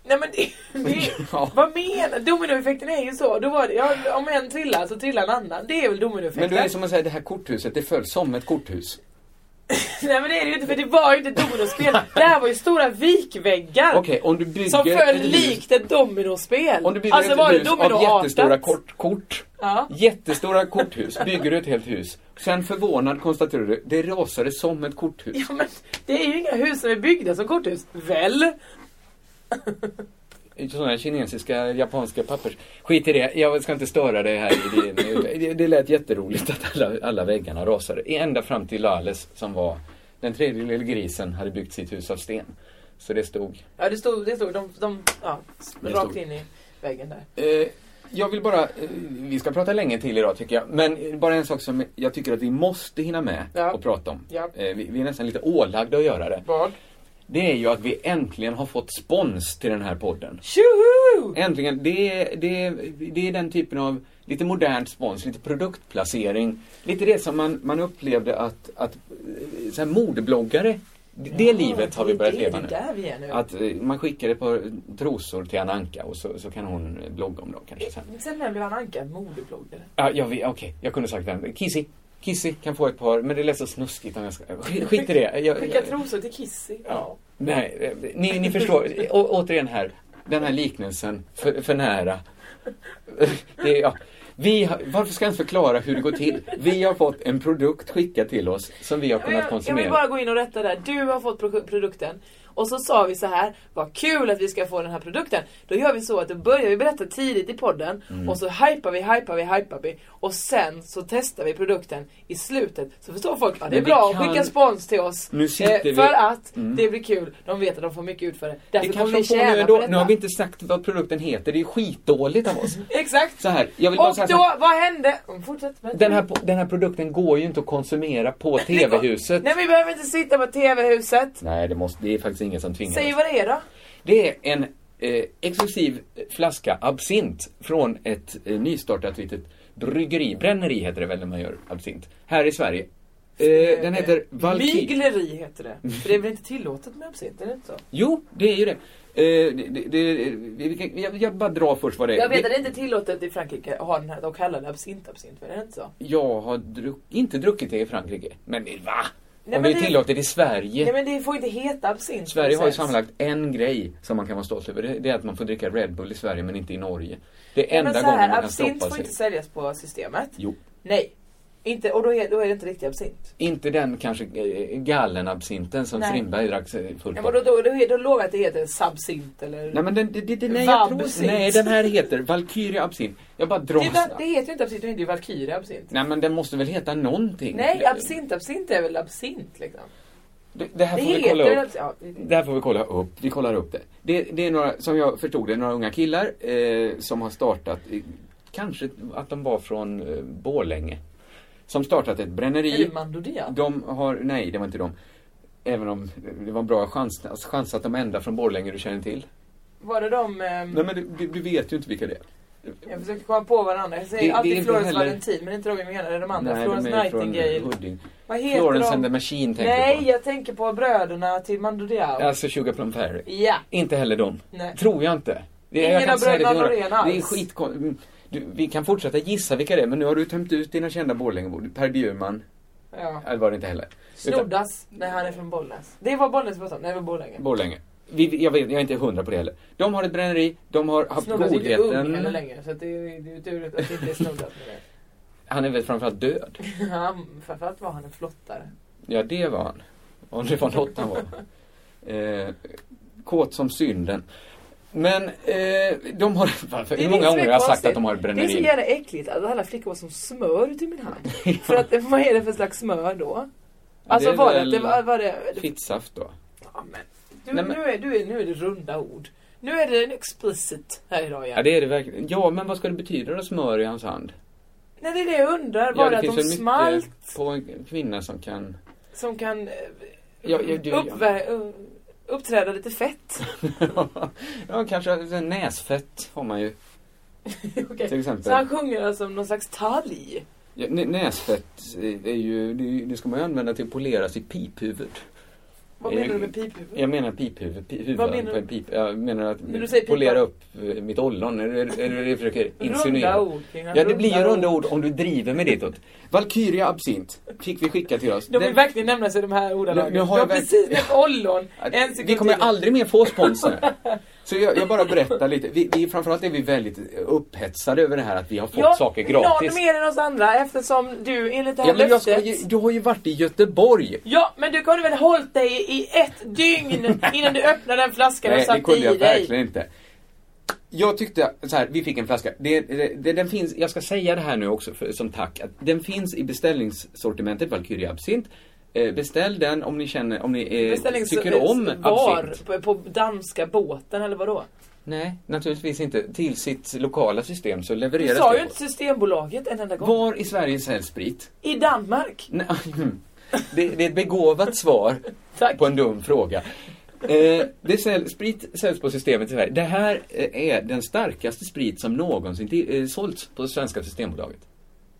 Speaker 8: Nej men det, det, vad menar Dominoeffekten är ju så. Då var det, ja, om en trillar så trillar en annan. Det är väl
Speaker 7: Men
Speaker 8: dominoeffekten?
Speaker 7: då är liksom- det som att säga det här korthuset, det föll som ett korthus.
Speaker 8: Nej men det är det ju inte för det var ju inte dominospel. det här var ju stora vikväggar.
Speaker 7: Okej, om du bygger
Speaker 8: som föll
Speaker 7: ett hus-
Speaker 8: likt ett dominospel.
Speaker 7: Om du bygger
Speaker 8: alltså
Speaker 7: ett
Speaker 8: var det
Speaker 7: hus av jättestora
Speaker 8: dominoartat.
Speaker 7: kort, kort
Speaker 8: Ja.
Speaker 7: Jättestora korthus, bygger du ett helt hus. Sen förvånad konstaterar du, det rasade som ett korthus.
Speaker 8: ja men det är ju inga hus som är byggda som korthus. Väl?
Speaker 7: Sådana kinesiska, japanska pappers. Skit i det, jag ska inte störa dig här i din... Det, det lät jätteroligt att alla, alla väggarna rasade. Ända fram till Lales som var den tredje lille grisen hade byggt sitt hus av sten. Så det stod.
Speaker 8: Ja det stod, det stod de, de ja,
Speaker 7: Det
Speaker 8: rakt
Speaker 7: stod.
Speaker 8: in i väggen där.
Speaker 7: Eh, jag vill bara, eh, vi ska prata länge till idag tycker jag. Men eh, bara en sak som jag tycker att vi måste hinna med
Speaker 8: Ja.
Speaker 7: och prata om.
Speaker 8: Ja.
Speaker 7: Eh, vi, vi är nästan lite ålagda att göra det.
Speaker 8: Vad?
Speaker 7: Det är ju att vi äntligen har fått spons till den här podden.
Speaker 8: Tjoho!
Speaker 7: Äntligen, det är, det, är, det är den typen av lite modernt spons, lite produktplacering. Lite det som man, man upplevde att, att eh, så här modebloggare, det, det livet har vi börjat
Speaker 8: det,
Speaker 7: leva nu.
Speaker 8: Det är där vi är nu.
Speaker 7: Att eh, man skickar ett par trosor till Ananka och så, så kan hon eh, blogga om dem kanske sen.
Speaker 8: Sen när blev han Anka modebloggare?
Speaker 7: Ja, jag vet, okej, jag kunde sagt den. Kissy, Kissy kan få ett par, men det lät så snuskigt om jag ska... Skit, skit i det. Jag, jag,
Speaker 8: Skicka trosor till Kissy. Ja.
Speaker 7: nej, eh, ni, ni förstår. Å, återigen här, den här liknelsen, för, för nära. Det, är- ja. Vi har, varför ska jag ens förklara hur det går till? Vi har fått en produkt skickad till oss som vi har
Speaker 8: Jag,
Speaker 7: kunnat
Speaker 8: jag, jag vill
Speaker 7: konsumera.
Speaker 8: bara gå in och rätta där. Du har fått pro- produkten. Och så sa vi så här, vad kul att vi ska få den här produkten. Då gör vi så att då börjar vi berätta tidigt i podden
Speaker 1: Mm.
Speaker 8: och så hypar vi, hypar vi, hypar vi. Och sen så testar vi produkten i slutet. Så förstår folk, ja det är
Speaker 7: Men vi
Speaker 8: bra,
Speaker 7: kan-
Speaker 8: skicka spons till oss. eh,
Speaker 7: Nu sitter vi-
Speaker 8: för att
Speaker 7: Mm.
Speaker 8: det blir kul. De vet att de får mycket ut för det. Därför
Speaker 7: Det
Speaker 8: kommer
Speaker 7: kanske
Speaker 8: de
Speaker 7: de får nu
Speaker 8: tjäna
Speaker 7: ändå.
Speaker 8: på
Speaker 7: Nu har
Speaker 8: detta.
Speaker 7: vi inte sagt vad produkten heter, det är skitdåligt av oss.
Speaker 8: Exakt.
Speaker 7: Så här, jag vill bara
Speaker 8: Och
Speaker 7: säga så
Speaker 8: då,
Speaker 7: här,
Speaker 8: vad hände? Mm, Fortsätt. berätta.
Speaker 7: den, här, po- den här produkten går ju inte att konsumera på TV-huset.
Speaker 8: Nej men vi behöver inte sitta på TV-huset.
Speaker 7: Nej, det, måste, det är faktiskt ingen som tvingar
Speaker 8: Säg
Speaker 7: oss.
Speaker 8: vad det är då.
Speaker 7: Det är en eh, exklusiv flaska absint från ett eh, nystartat litet bryggeri. Bränneri heter det väl när man gör absint. Här i Sverige. Eh, den heter Valkyrie.
Speaker 8: Mygleri heter det. För det är väl inte tillåtet med absint, är det inte så?
Speaker 7: Jo, det är ju det. Eh, det, det, det vi- vi kan, jag, jag bara drar först vad det är.
Speaker 8: Jag vet
Speaker 7: det,
Speaker 8: att det är inte tillåtet i Frankrike att ha den här och kalla den absint absint, men är det inte så?
Speaker 7: Jag har druck, inte druckit det i Frankrike. Men det- va?
Speaker 8: Nej,
Speaker 7: Om
Speaker 8: men
Speaker 7: det är
Speaker 8: det-
Speaker 7: tillåtet i Sverige.
Speaker 8: Nej men det får inte heta absint.
Speaker 7: Sverige har ju
Speaker 8: precis.
Speaker 7: sammanlagt en grej som man kan vara stolt över. Det, det är att man får dricka Red Bull i Sverige men inte i Norge. Det är
Speaker 8: Nej, men
Speaker 7: enda
Speaker 8: så här,
Speaker 7: gången man kan
Speaker 8: Absint
Speaker 7: stoppa
Speaker 8: får
Speaker 7: sig.
Speaker 8: inte säljas på systemet.
Speaker 7: Jo.
Speaker 8: Nej. Inte, och då är, då är det inte riktigt absint.
Speaker 7: Inte den kanske eh, gallenabsinten som
Speaker 8: Nej.
Speaker 7: Strindberg drack eh, fullt på.
Speaker 8: Ja, men då, då, då, är- då lovar jag att det heter sabsint eller...
Speaker 7: Nej men den, det, det, nej, jag tror,
Speaker 8: Vabsint.
Speaker 7: nej den här heter Valkyrie absint. Jag bara drar
Speaker 8: det, är väl- det
Speaker 7: snabbt.
Speaker 8: heter ju inte absint, det heter ju Valkyrie absint.
Speaker 7: Nej men den måste väl heta någonting?
Speaker 8: Nej, absint absint är väl absint liksom.
Speaker 7: Det, det här får
Speaker 8: Det
Speaker 7: vi kolla
Speaker 8: heter
Speaker 7: upp.
Speaker 8: absint. Ja,
Speaker 7: Det här får vi kolla upp. Vi kollar upp det. Det, det är några, som jag förstod det, några unga killar eh, som har startat, eh, kanske att de var från eh, Borlänge. Som startat ett bränneri.
Speaker 8: Är det Mandodia?
Speaker 7: De har, nej det var inte de. Även om det var en bra chans, chans att de ända från Borlänge du känner till.
Speaker 8: Var det de... ehm,
Speaker 7: Nej men du- du, du vet ju inte vilka det är.
Speaker 8: Jag försökte komma på varandra. Jag
Speaker 7: Det-
Speaker 8: säger
Speaker 7: det är
Speaker 8: alltid
Speaker 7: inte
Speaker 8: Florence
Speaker 7: heller-
Speaker 8: Valentin, men inte de jag menar. Det är eh, de andra.
Speaker 7: Nej,
Speaker 8: Florence
Speaker 7: de är från
Speaker 8: Nightingale.
Speaker 7: Huddinge.
Speaker 8: Vad heter
Speaker 7: Florence
Speaker 8: de?
Speaker 7: and the Machine tänker
Speaker 8: Nej,
Speaker 7: du
Speaker 8: jag tänker på bröderna till Mando Diao.
Speaker 7: på. Alltså Sugar Plum Fairy.
Speaker 8: Ja.
Speaker 7: Inte heller dem.
Speaker 8: Nej.
Speaker 7: Tror jag inte. Det,
Speaker 8: Ingen
Speaker 7: jag kan
Speaker 8: av
Speaker 7: inte säga
Speaker 8: bröderna
Speaker 7: till
Speaker 8: Norén
Speaker 7: några. Det är
Speaker 8: alls.
Speaker 7: skitkon- mm, du, Vi kan fortsätta gissa vilka det är, men nu har du tömt ut dina kända Borlängebor. Per Bjurman,
Speaker 8: Ja.
Speaker 7: eller var det inte heller. Utan
Speaker 8: Snoddas. Nej, han är från Bollnäs. Det var Bollnäs vi pratade om. Nej, det var Borlänge.
Speaker 7: Borlänge. Vi, vi- jag, vet, jag är inte hundra på det heller. De har ett bränneri, de har haft
Speaker 8: Snoddas är inte ung heller
Speaker 7: godheten.
Speaker 8: längre, så att det är det är ju tur att det inte är Snoddas med
Speaker 7: Han är väl framförallt död?
Speaker 8: det. Han- Framförallt var han en flottare.
Speaker 7: Ja, det var han. Om det var något han var. Eh, kåt som synden. Men eh, de har... Varför,
Speaker 8: Det
Speaker 7: hur
Speaker 8: är det
Speaker 7: många
Speaker 8: som är
Speaker 7: gånger har jag sagt
Speaker 8: konstigt.
Speaker 7: att de har ett
Speaker 8: Det är så
Speaker 7: bränneri?
Speaker 8: jävla äckligt att alla flickor var som smör till min hand. För att vad är det för slags smör då? Alltså
Speaker 7: Det är
Speaker 8: var det,
Speaker 7: väl-
Speaker 8: det var, var det
Speaker 7: Fittsaft då?
Speaker 8: Du,
Speaker 7: Nej, men-
Speaker 8: nu, är, du är, nu är det runda ord. Nu är det en explicit här idag igen.
Speaker 7: Ja, det är det verkligen. Ja, men vad ska det betyda då, smör i hans hand?
Speaker 8: Nej, det är det jag undrar.
Speaker 7: ja,
Speaker 8: Var
Speaker 7: det
Speaker 8: det, att de
Speaker 7: väl mycket
Speaker 8: smalt
Speaker 7: på en kvinna som kan...
Speaker 8: som kan eh,
Speaker 7: Ja, ja, du, ja.
Speaker 8: uppvä- eh, uppträda lite fett?
Speaker 7: ja, kanske så här näsfett har man ju.
Speaker 8: Okej.
Speaker 7: Till exempel.
Speaker 8: Så han sjunger alltså om någon slags talg.
Speaker 7: Ja, nä- näsfett är ju, det, är ju- det ska man ju använda till att polera sitt piphuvud.
Speaker 8: Vad menar du med piphuvud?
Speaker 7: Jag menar piphuvud. Pi-
Speaker 8: Vad
Speaker 7: huvudan
Speaker 8: menar
Speaker 7: på en pip. Jag menar att
Speaker 8: När du säger pipa-
Speaker 7: polera upp eh, mitt ollon. Är det- är det är det du försöker insinuera?
Speaker 8: ord, Kina,
Speaker 7: Ja, det blir ju
Speaker 8: runda
Speaker 7: runda ord om du driver med ditåt. Valkyria absint fick vi skicka till oss.
Speaker 8: De vill
Speaker 7: Den-
Speaker 8: verkligen nämna sig de här ordalagen.
Speaker 7: Nu- nu
Speaker 8: De
Speaker 7: har
Speaker 8: har
Speaker 7: jag verk-
Speaker 8: precis nämnt ollon. En sekund
Speaker 7: Vi kommer
Speaker 8: till.
Speaker 7: aldrig mer få sponsor. Så jag, jag bara berättar lite. Vi, vi, framförallt är vi väldigt eh, upphetsade över det här att vi har fått saker
Speaker 8: Någon
Speaker 7: gratis.
Speaker 8: mer än oss andra eftersom du enligt det här
Speaker 7: Ja, men jag
Speaker 8: löftet...
Speaker 7: ska ju, du har ju varit i Göteborg.
Speaker 8: Ja, men du kunde väl hållit dig i ett dygn innan du öppnade den flaskan och
Speaker 7: Nej, det
Speaker 8: satte i
Speaker 7: kunde jag
Speaker 8: dig?
Speaker 7: verkligen inte. Jag tyckte så här, vi fick en flaska. Det, det, den finns, jag ska säga det här nu också för, som tack. Att den finns i beställningssortimentet Valkyrie Absint. Eh, beställ den om ni känner, om ni eh,
Speaker 8: Beställnings-
Speaker 7: tycker om absint.
Speaker 8: var på, på danska båten eller vadå?
Speaker 7: Nej, naturligtvis inte. Till sitt lokala system så
Speaker 8: Du
Speaker 7: levereras
Speaker 8: sa ju
Speaker 7: det.
Speaker 8: inte Systembolaget en enda gång.
Speaker 7: Var i Sverige säljs sprit?
Speaker 8: I Danmark.
Speaker 7: Nej, det, det är ett begåvat svar
Speaker 8: Tack.
Speaker 7: på en dum fråga. Eh, det säl, sprit säljs på systemet i Sverige. Det här eh, är den starkaste sprit som någonsin till, eh, sålts på det svenska systembolaget.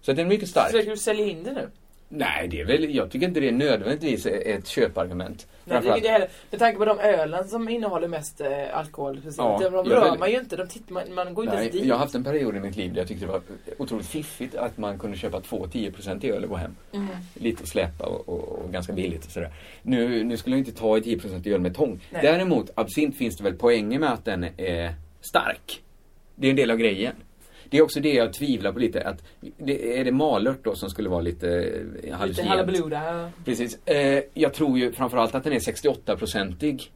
Speaker 7: Så den är mycket stark.
Speaker 8: Försöker du sälja in det nu?
Speaker 7: Nej, det är väl, jag tycker inte det är nödvändigtvis är ett köpargument.
Speaker 8: Nej, det är
Speaker 7: Framförallt-
Speaker 8: inte heller. Med tanke på de ölen som innehåller mest eh, alkohol. precis.
Speaker 7: Ja,
Speaker 8: de
Speaker 7: jag
Speaker 8: rör
Speaker 7: väl-
Speaker 8: man ju inte. De tittar, man, man går inte ens
Speaker 7: Nej,
Speaker 8: dit.
Speaker 7: jag har haft en period i mitt liv där jag tyckte det var otroligt fiffigt att man kunde köpa två 10% i öl och gå hem.
Speaker 8: Mm.
Speaker 7: Lite att släpa och, och, och ganska billigt och sådär. Nu, nu skulle jag inte ta i 10% i öl med tång.
Speaker 8: Nej.
Speaker 7: Däremot, absint finns det väl poänger med att den är stark. Det är en del av grejen. Det är också det jag tvivlar på lite. Att det, är det malört då som skulle vara lite eh,
Speaker 8: Lite
Speaker 7: hallucinogent?
Speaker 8: halabluda.
Speaker 7: Precis. Eh, jag tror ju framförallt att den är 68-procentig.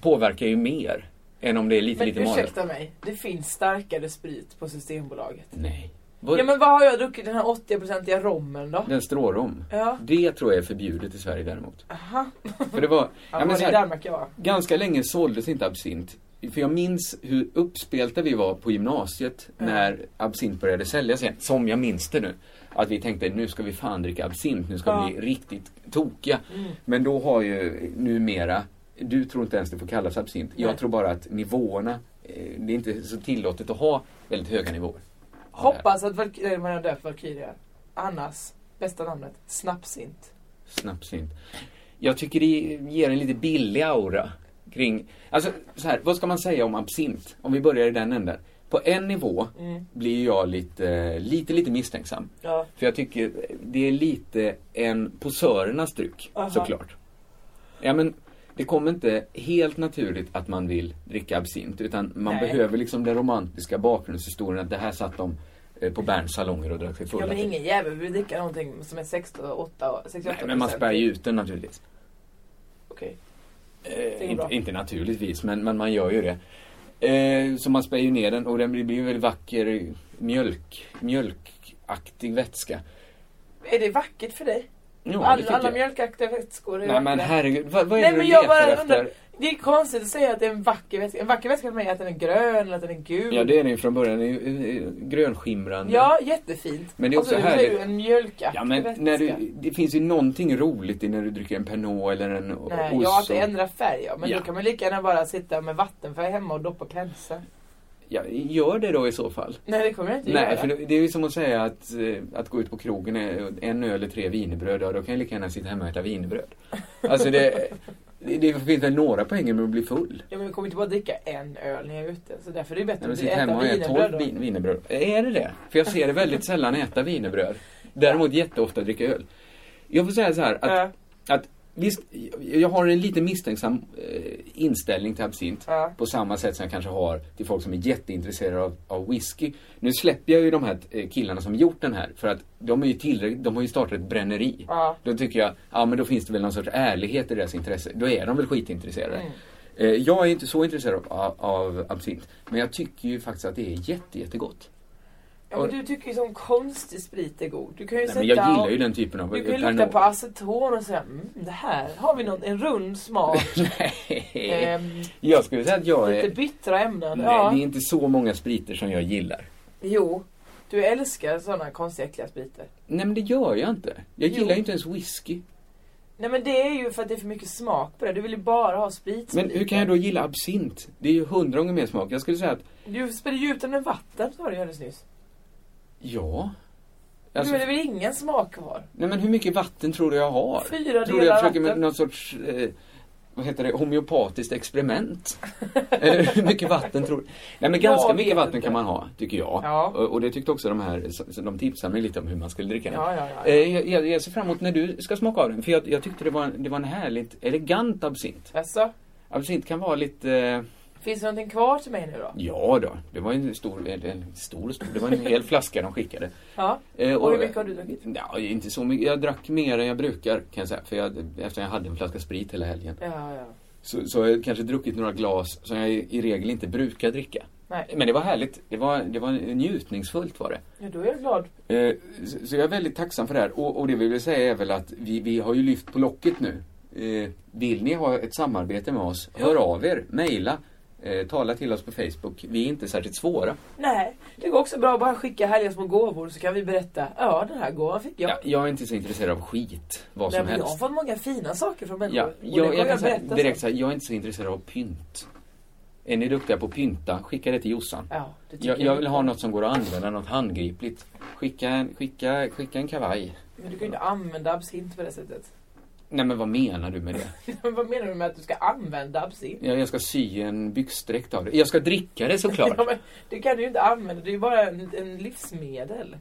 Speaker 7: Påverkar ju mer än om det är lite,
Speaker 8: Men
Speaker 7: lite malört.
Speaker 8: ursäkta mig, det finns starkare sprit på Systembolaget.
Speaker 7: Nej. Vad-
Speaker 8: Ja men vad har jag druckit den här 80-procentiga rommen då?
Speaker 7: Den strårom.
Speaker 8: Ja.
Speaker 7: Det tror jag är förbjudet i Sverige däremot.
Speaker 8: Aha.
Speaker 7: För det var,
Speaker 8: Ja,
Speaker 7: ja, men
Speaker 8: var
Speaker 7: så
Speaker 8: det i
Speaker 7: här,
Speaker 8: Danmark jag var?
Speaker 7: ganska länge såldes inte absint. För jag minns hur uppspelta vi var på gymnasiet när absint började säljas igen. Som jag minns det nu. Att vi tänkte nu ska vi fan dricka absint, nu ska
Speaker 8: Ja.
Speaker 7: vi bli riktigt tokiga.
Speaker 8: Mm.
Speaker 7: Men då har ju numera, du tror inte ens det får kallas absint. Jag
Speaker 8: Nej.
Speaker 7: tror bara att nivåerna, eh, det är inte så tillåtet att ha väldigt höga nivåer.
Speaker 8: Hoppas att Valkyria, man har döpt Valkyria. Annas, bästa namnet, Snapsint.
Speaker 7: Snapsint. Jag tycker det ger en lite billig aura kring, alltså så här, vad ska man säga om absint? Om vi börjar i den änden. På en nivå
Speaker 8: Mm.
Speaker 7: blir jag lite, lite, lite misstänksam.
Speaker 8: Ja.
Speaker 7: För jag tycker det är lite en posörernas dryck,
Speaker 8: Aha.
Speaker 7: såklart. Ja men, det kommer inte helt naturligt att man vill dricka absint utan man
Speaker 8: Nej.
Speaker 7: behöver liksom den romantiska bakgrundshistorien att det här satt de eh, på Berns salonger och drack sig fulla.
Speaker 8: Ja men
Speaker 7: till.
Speaker 8: ingen jävel vill dricka någonting som är 68
Speaker 7: Nej,
Speaker 8: 68
Speaker 7: men man spär ju ut den naturligtvis.
Speaker 8: Okej.
Speaker 7: Eh,
Speaker 8: går
Speaker 7: inte,
Speaker 8: bra.
Speaker 7: inte naturligtvis, men, men man gör ju det. Eh, så man spär ju ner den och den blir blir ju väldigt vacker mjölk, mjölkaktig vätska.
Speaker 8: Är det vackert för dig?
Speaker 7: Ja, det
Speaker 8: alla
Speaker 7: tycker
Speaker 8: alla
Speaker 7: jag.
Speaker 8: mjölkaktiga vätskor är
Speaker 7: Nej men
Speaker 8: vackra.
Speaker 7: herregud, vad, vad är
Speaker 8: Nej
Speaker 7: det du
Speaker 8: men jag
Speaker 7: letar
Speaker 8: bara
Speaker 7: efter?
Speaker 8: undrar, det är konstigt att säga att det är en vacker vätska. En vacker vätska för mig är att den är grön eller att den är gul.
Speaker 7: Ja det är den ju från början, den är ju eh, grönskimrande.
Speaker 8: Ja, jättefint.
Speaker 7: Men det är också
Speaker 8: och så blir
Speaker 7: härligt.
Speaker 8: du en mjölkaktig
Speaker 7: Ja, men
Speaker 8: vätska.
Speaker 7: när du, det finns ju någonting roligt i när du dricker en Pernod eller en o-
Speaker 8: Nej,
Speaker 7: ost.
Speaker 8: ja, att
Speaker 7: och-
Speaker 8: det ändrar färg ja. Men
Speaker 7: Ja.
Speaker 8: då kan man lika gärna bara sitta med vattenfärg hemma och doppa penseln.
Speaker 7: ja, gör det då i så fall.
Speaker 8: Nej, det kommer jag inte
Speaker 7: Nej,
Speaker 8: göra.
Speaker 7: för det, det är ju som att säga att, eh, att gå ut på krogen, eh, en öl eller tre wienerbröd, ja, då kan jag lika gärna sitta hemma och äta wienerbröd. Alltså det, det, det finns väl några poänger med att bli full.
Speaker 8: Ja, men vi kommer inte bara dricka en öl när jag är ute. Så därför är det bättre
Speaker 7: När man
Speaker 8: att vi
Speaker 7: sitter hemma
Speaker 8: äter
Speaker 7: och äter
Speaker 8: wienerbröd
Speaker 7: tolv
Speaker 8: då.
Speaker 7: vin- wienerbröd. Är det det? För jag ser det väldigt sällan äta wienerbröd. Däremot jätteofta dricka öl. Jag får säga så här att, att visst, jag har en lite misstänksam eh, inställning till absint.
Speaker 8: Ja.
Speaker 7: På samma sätt som jag kanske har till folk som är jätteintresserade av, av whisky. Nu släpper jag ju de här eh, killarna som gjort den här för att de är ju tillräckligt, de har ju startat ett bränneri.
Speaker 8: Ja.
Speaker 7: Då tycker jag, ja men då finns det väl någon sorts ärlighet i deras intresse. Då är de väl skitintresserade.
Speaker 8: Mm.
Speaker 7: Eh, jag är inte så intresserad av, av absint. Men jag tycker ju faktiskt att det är jätte, jättegott.
Speaker 8: Ja, men du tycker ju som konstig sprit är god. Du kan ju
Speaker 7: Nej,
Speaker 8: sätta
Speaker 7: men jag gillar
Speaker 8: och-
Speaker 7: ju den typen av
Speaker 8: Du kan ju
Speaker 7: Pernod.
Speaker 8: lukta på aceton och säga mm, det här har vi någon, en rund smak.
Speaker 7: Nej.
Speaker 8: ehm,
Speaker 7: Jag skulle säga att jag är...
Speaker 8: lite bittra ämnen.
Speaker 7: eh, Nej,
Speaker 8: ja.
Speaker 7: det är inte så många spriter som jag gillar.
Speaker 8: Jo, du älskar sådana konstiga äckliga spriter.
Speaker 7: Nej men det gör jag inte. Jag
Speaker 8: Jo.
Speaker 7: gillar ju inte ens whisky.
Speaker 8: Nej men det är ju för att det är för mycket smak på det. Du vill ju bara ha sprit.
Speaker 7: Men hur kan jag då gilla absint? Det är ju hundra gånger mer smak. Jag skulle säga att,
Speaker 8: Du spred ju ut den med vatten sa du ju alldeles nyss.
Speaker 7: ja.
Speaker 8: Alltså,
Speaker 7: Alltså,
Speaker 8: du det är väl ingen smak kvar?
Speaker 7: nej men hur mycket vatten tror du jag har?
Speaker 8: Fyra
Speaker 7: tror du jag
Speaker 8: delar
Speaker 7: försöker med
Speaker 8: vatten.
Speaker 7: någon sorts eh, vad heter det, homeopatiskt experiment. Eller hur mycket vatten tror du? Nej men ganska
Speaker 8: Jag vet
Speaker 7: mycket vatten
Speaker 8: inte.
Speaker 7: kan man ha, tycker jag.
Speaker 8: Ja.
Speaker 7: Och, och det tyckte också de här, så- så de tipsade mig lite om hur man skulle dricka den.
Speaker 8: Ja, ja, ja, ja.
Speaker 7: Eh, jag- Jag, jag ser fram emot när du ska smaka av den, för jag, jag tyckte det var, en- det var en härligt elegant absint.
Speaker 8: Jaså?
Speaker 7: Absint kan vara lite, eh,
Speaker 8: Alltså, Finns det någonting kvar till mig nu då?
Speaker 7: ja då, det var en stor, en- en stor, stor det var en hel flaska de skickade.
Speaker 8: Ja.
Speaker 7: Eh,
Speaker 8: och hur mycket har du druckit?
Speaker 7: Ja, inte så mycket. Jag drack mer än jag brukar kan jag säga. För jag, eftersom jag hade en flaska sprit hela helgen.
Speaker 8: Ja, ja.
Speaker 7: Så, så har jag kanske druckit några glas som jag i i regel inte brukar dricka.
Speaker 8: Nej.
Speaker 7: Men det var härligt. Det var, det var njutningsfullt var det.
Speaker 8: Ja, då är jag glad.
Speaker 7: Eh, så- Så jag är väldigt tacksam för det här. Och, och det vi vill säga är väl att vi, vi har ju lyft på locket nu. Eh, Vill ni ha ett samarbete med oss, hör av er, mejla, eh, tala till oss på Facebook. Vi är inte särskilt svåra.
Speaker 8: Nej, det går också bra att bara skicka härliga små gåvor så kan vi berätta. Ja, den här gåvan fick jag.
Speaker 7: Ja, jag är inte så intresserad av skit, vad
Speaker 8: Nej,
Speaker 7: som
Speaker 8: men jag har
Speaker 7: helst.
Speaker 8: fått många fina saker från människor.
Speaker 7: Ja,
Speaker 8: Och det
Speaker 7: jag,
Speaker 8: kommer
Speaker 7: jag kan säga
Speaker 8: berätta
Speaker 7: direkt
Speaker 8: sen.
Speaker 7: så här, jag är inte så intresserad av pynt. Är ni duktiga på att pynta, skicka det till Jossan.
Speaker 8: Ja, det tycker
Speaker 7: jag,
Speaker 8: jag.
Speaker 7: jag vill ha något som går att använda, något handgripligt. Skicka en, skicka, skicka en kavaj.
Speaker 8: Men du kan ju inte använda absint på det sättet.
Speaker 7: Nej men vad menar du med det?
Speaker 8: Men vad menar du med att du ska använda absint?
Speaker 7: Jag, jag ska sy en byxdräkt av det. Jag ska dricka det såklart.
Speaker 8: Ja, men det kan du ju inte använda, det är ju bara en, en livsmedel.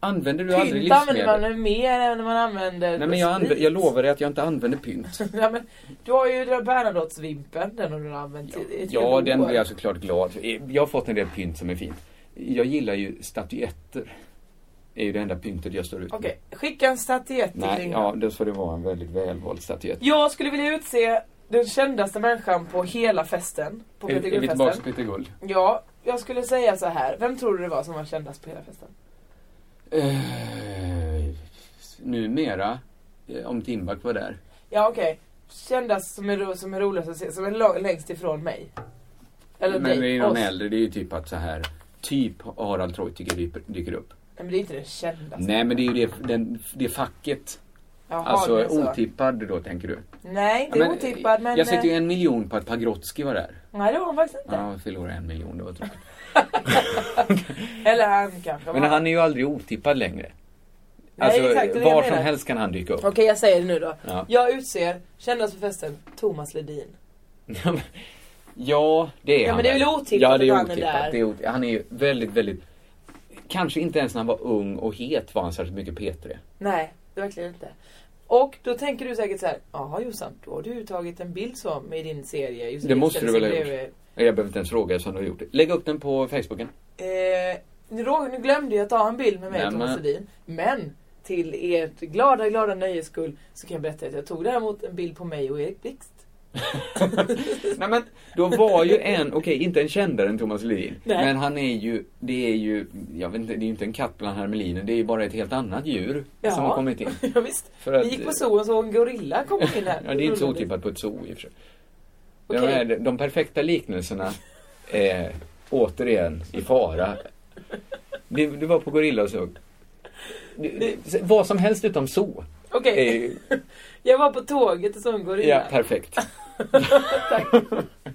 Speaker 7: Använder du aldrig
Speaker 8: Pynt använder man
Speaker 7: livsmedel?
Speaker 8: nu mer än man använder
Speaker 7: Nej men jag, anv-
Speaker 8: sprit.
Speaker 7: jag lovar dig att jag inte använder pynt.
Speaker 8: ja, men Du har ju den där Bernadottevimpen, den har du använt ja, i ett
Speaker 7: Ja,
Speaker 8: helt
Speaker 7: den
Speaker 8: år.
Speaker 7: blir jag såklart glad för. Jag har fått en del pynt som är fint. Jag gillar ju statyetter. Det är ju det enda pyntet jag står ut med.
Speaker 8: Okej, skicka en statyett till
Speaker 7: Nej,
Speaker 8: Ingmar.
Speaker 7: ja, då får det vara en väldigt välvald statyett.
Speaker 8: Jag skulle vilja utse den kändaste människan på hela festen. På
Speaker 7: Är, är vi tillbaka till
Speaker 8: Peter
Speaker 7: Peter Guld?
Speaker 8: Ja, jag skulle säga så här. Vem tror du det var som var kändast på hela festen?
Speaker 7: Eh, numera, eh, om Timbuk var där.
Speaker 8: Ja, okej. Kändast som är, ro- som är roligast att se, som är lo- längst ifrån mig. Eller
Speaker 7: Men det
Speaker 8: dig,
Speaker 7: är någon
Speaker 8: oss.
Speaker 7: äldre, det är ju typ att så här, typ Harald Treutiger dyker, dyker upp.
Speaker 8: Nej, men det är inte den kändaste.
Speaker 7: Nej, men det är ju det, den, det facket.
Speaker 8: Jaha, det
Speaker 7: alltså
Speaker 8: är så.
Speaker 7: otippad då, tänker du?
Speaker 8: Nej, det
Speaker 7: Ja, eh,
Speaker 8: är otippad men...
Speaker 7: Jag sätter ju
Speaker 8: eh,
Speaker 7: en miljon på att Pagrotsky var där.
Speaker 8: Nej, det var han faktiskt inte.
Speaker 7: Ja, jag förlorade en miljon, det var tråkigt.
Speaker 8: Eller han kanske
Speaker 7: Men
Speaker 8: var.
Speaker 7: han är ju aldrig otippad längre.
Speaker 8: Nej,
Speaker 7: alltså,
Speaker 8: exakt, det är det jag
Speaker 7: var som
Speaker 8: menar.
Speaker 7: helst kan han dyka upp.
Speaker 8: Okej, jag säger det nu då.
Speaker 7: Ja.
Speaker 8: Jag utser kändast på festen, Thomas Ledin.
Speaker 7: Ja, det är
Speaker 8: Ja,
Speaker 7: han
Speaker 8: men det är
Speaker 7: väl.
Speaker 8: väl otippat
Speaker 7: ja, det är
Speaker 8: att han är
Speaker 7: otippat.
Speaker 8: där.
Speaker 7: Det är otippat. Han är ju väldigt, väldigt... Kanske inte ens när han var ung och het var han särskilt mycket P3.
Speaker 8: Nej, det är verkligen inte. Och då tänker du säkert så här, jaha Jossan, då har du ju tagit en bild så med din serie. Just
Speaker 7: Det måste du väl ha
Speaker 8: bredvid."
Speaker 7: gjort? Jag behöver inte ens fråga eftersom du har gjort det. Lägg upp den på Facebooken.
Speaker 8: Eh, nu, rå- nu glömde jag ta en bild med mig och
Speaker 7: Nämen.
Speaker 8: Thomas Ledin. Men till ert glada, glada nöjes skull så kan jag berätta att jag tog däremot en bild på mig och Erik Blixt.
Speaker 7: Nej men, då var ju en, okej inte en kändare än Thomas Ledin.
Speaker 8: Nej.
Speaker 7: Men han är ju, det är ju, jag vet inte, det är ju inte en katt bland hermeliner. Det är ju bara ett helt annat djur
Speaker 8: Ja.
Speaker 7: som har kommit in.
Speaker 8: ja, visst.
Speaker 7: För att-
Speaker 8: Vi gick på zoo och såg en gorilla komma in här.
Speaker 7: Ja, det är inte så otippat på ett zoo i och för sig.
Speaker 8: Okej.
Speaker 7: De, här, de perfekta liknelserna är återigen i fara. Du, du var på gorilla och såg. Du- du- Vad som helst utom zoo.
Speaker 8: Okej,
Speaker 7: Är, ju-
Speaker 8: jag var på tåget och såg en gorilla.
Speaker 7: Eh. ja, perfekt.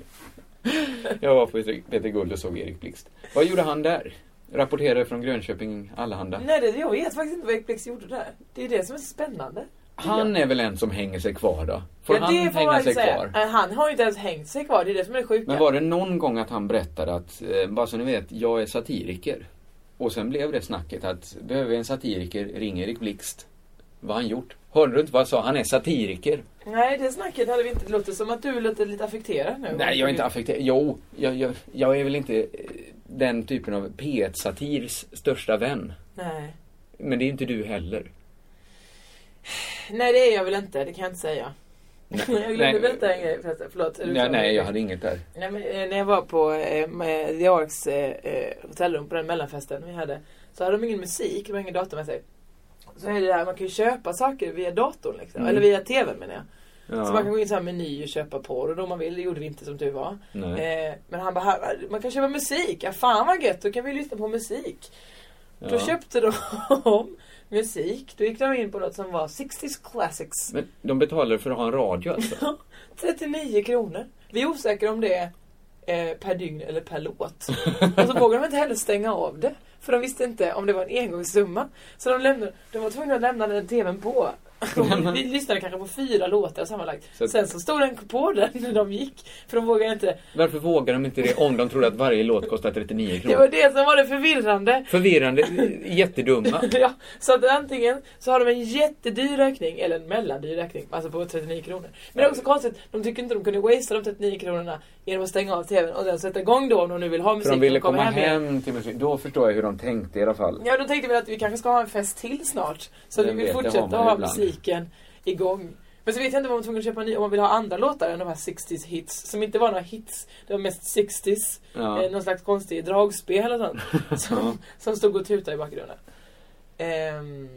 Speaker 7: Jag var på Peter- Peter Guld och såg Erik Blixt. Vad gjorde han där? Rapporterade från Grönköping Allehanda.
Speaker 8: Nej, det, jag vet faktiskt inte vad Erik Blixt gjorde där. Det är det som är så spännande.
Speaker 7: Han är väl en som hänger sig kvar då? Får han
Speaker 8: det
Speaker 7: hänga
Speaker 8: man
Speaker 7: sig
Speaker 8: säga.
Speaker 7: kvar?
Speaker 8: Nej, Han har ju inte ens hängt sig kvar, det är det som är det sjuka.
Speaker 7: Men var det någon gång att han berättade att, eh, bara så ni vet, jag är satiriker? Och sen blev det snacket att, behöver vi en satiriker, ring Erik Blixt. Vad har han gjort? Hörde du inte vad jag sa? Han är satiriker.
Speaker 8: Nej, det snacket hade vi inte. Det låter som att du låter lite affekterad nu.
Speaker 7: Nej, jag är inte affekterad. Jo, jag, jag, jag är väl inte eh, den typen av P1-satirs största vän.
Speaker 8: Nej.
Speaker 7: Men det är inte du heller.
Speaker 8: nej, det är jag väl inte. Det kan jag inte säga. jag glömde
Speaker 7: Nej.
Speaker 8: berätta en grej förresten. Förlåt. är du
Speaker 7: Nej,
Speaker 8: klar med
Speaker 7: nej,
Speaker 8: det?
Speaker 7: jag hade inget där.
Speaker 8: Nej, men, eh, när jag var på eh, med The Arks eh, eh, hotellrum på den mellanfesten vi hade så hade de ingen musik, de har ingen dator med sig. Så är det där, man kan ju köpa saker via datorn liksom,
Speaker 7: Mm.
Speaker 8: eller via TVn menar jag.
Speaker 7: Ja.
Speaker 8: Så man kan gå in i så här meny och köpa porr och då om man vill, det gjorde vi inte som tur var.
Speaker 7: Nej.
Speaker 8: Eh, men han bara, "Här, man kan köpa musik, ja fan vad gött, då kan vi lyssna på musik. Då
Speaker 7: Ja.
Speaker 8: köpte de musik, då gick de in på något som var 60s classics.
Speaker 7: Men de betalade för att ha en radio alltså?
Speaker 8: 39 kronor. Vi är osäkra om det är eh, per dygn eller per låt. Och så vågade de inte heller stänga av det. För de visste inte om det var en engångssumma. Så de, lämnade, de var tvungna att lämna den tvn på Vi lyssnade kanske på fyra låtar sammanlagt.
Speaker 7: Så att-
Speaker 8: Sen så stod den på den när de gick. För de vågade inte.
Speaker 7: Varför vågar de inte det om de trodde att varje låt kostar 39
Speaker 8: Det
Speaker 7: kronor?
Speaker 8: var det som var det förvirrande.
Speaker 7: Förvirrande, jättedumma.
Speaker 8: ja, så att antingen så har de en jättedyr ökning eller en mellandyr ökning, alltså på 39 kronor. Men det är också konstigt, de tycker inte de kunde wastea de 39 kronorna genom att stänga av tvn och sen sätta igång då om de nu vill ha musik
Speaker 7: För de ville
Speaker 8: och komma
Speaker 7: komma
Speaker 8: hem igen.
Speaker 7: hem till musik. Då förstår jag hur de tänkte i alla fall.
Speaker 8: Ja, då tänkte vi att vi kanske ska ha en fest till snart. Så
Speaker 7: Vem
Speaker 8: vi vill
Speaker 7: vet, det har
Speaker 8: fortsätta
Speaker 7: man ju
Speaker 8: ha
Speaker 7: ibland.
Speaker 8: musiken igång. Men så vet jag inte om man var tvungen att köpa en ny, om man vill ha andra låtar än de här 60s hits. Som inte var några hits, det var mest 60s.
Speaker 7: Ja.
Speaker 8: Eh, någon slags konstig dragspel och sånt. som, som stod och tutade i bakgrunden. Ehm,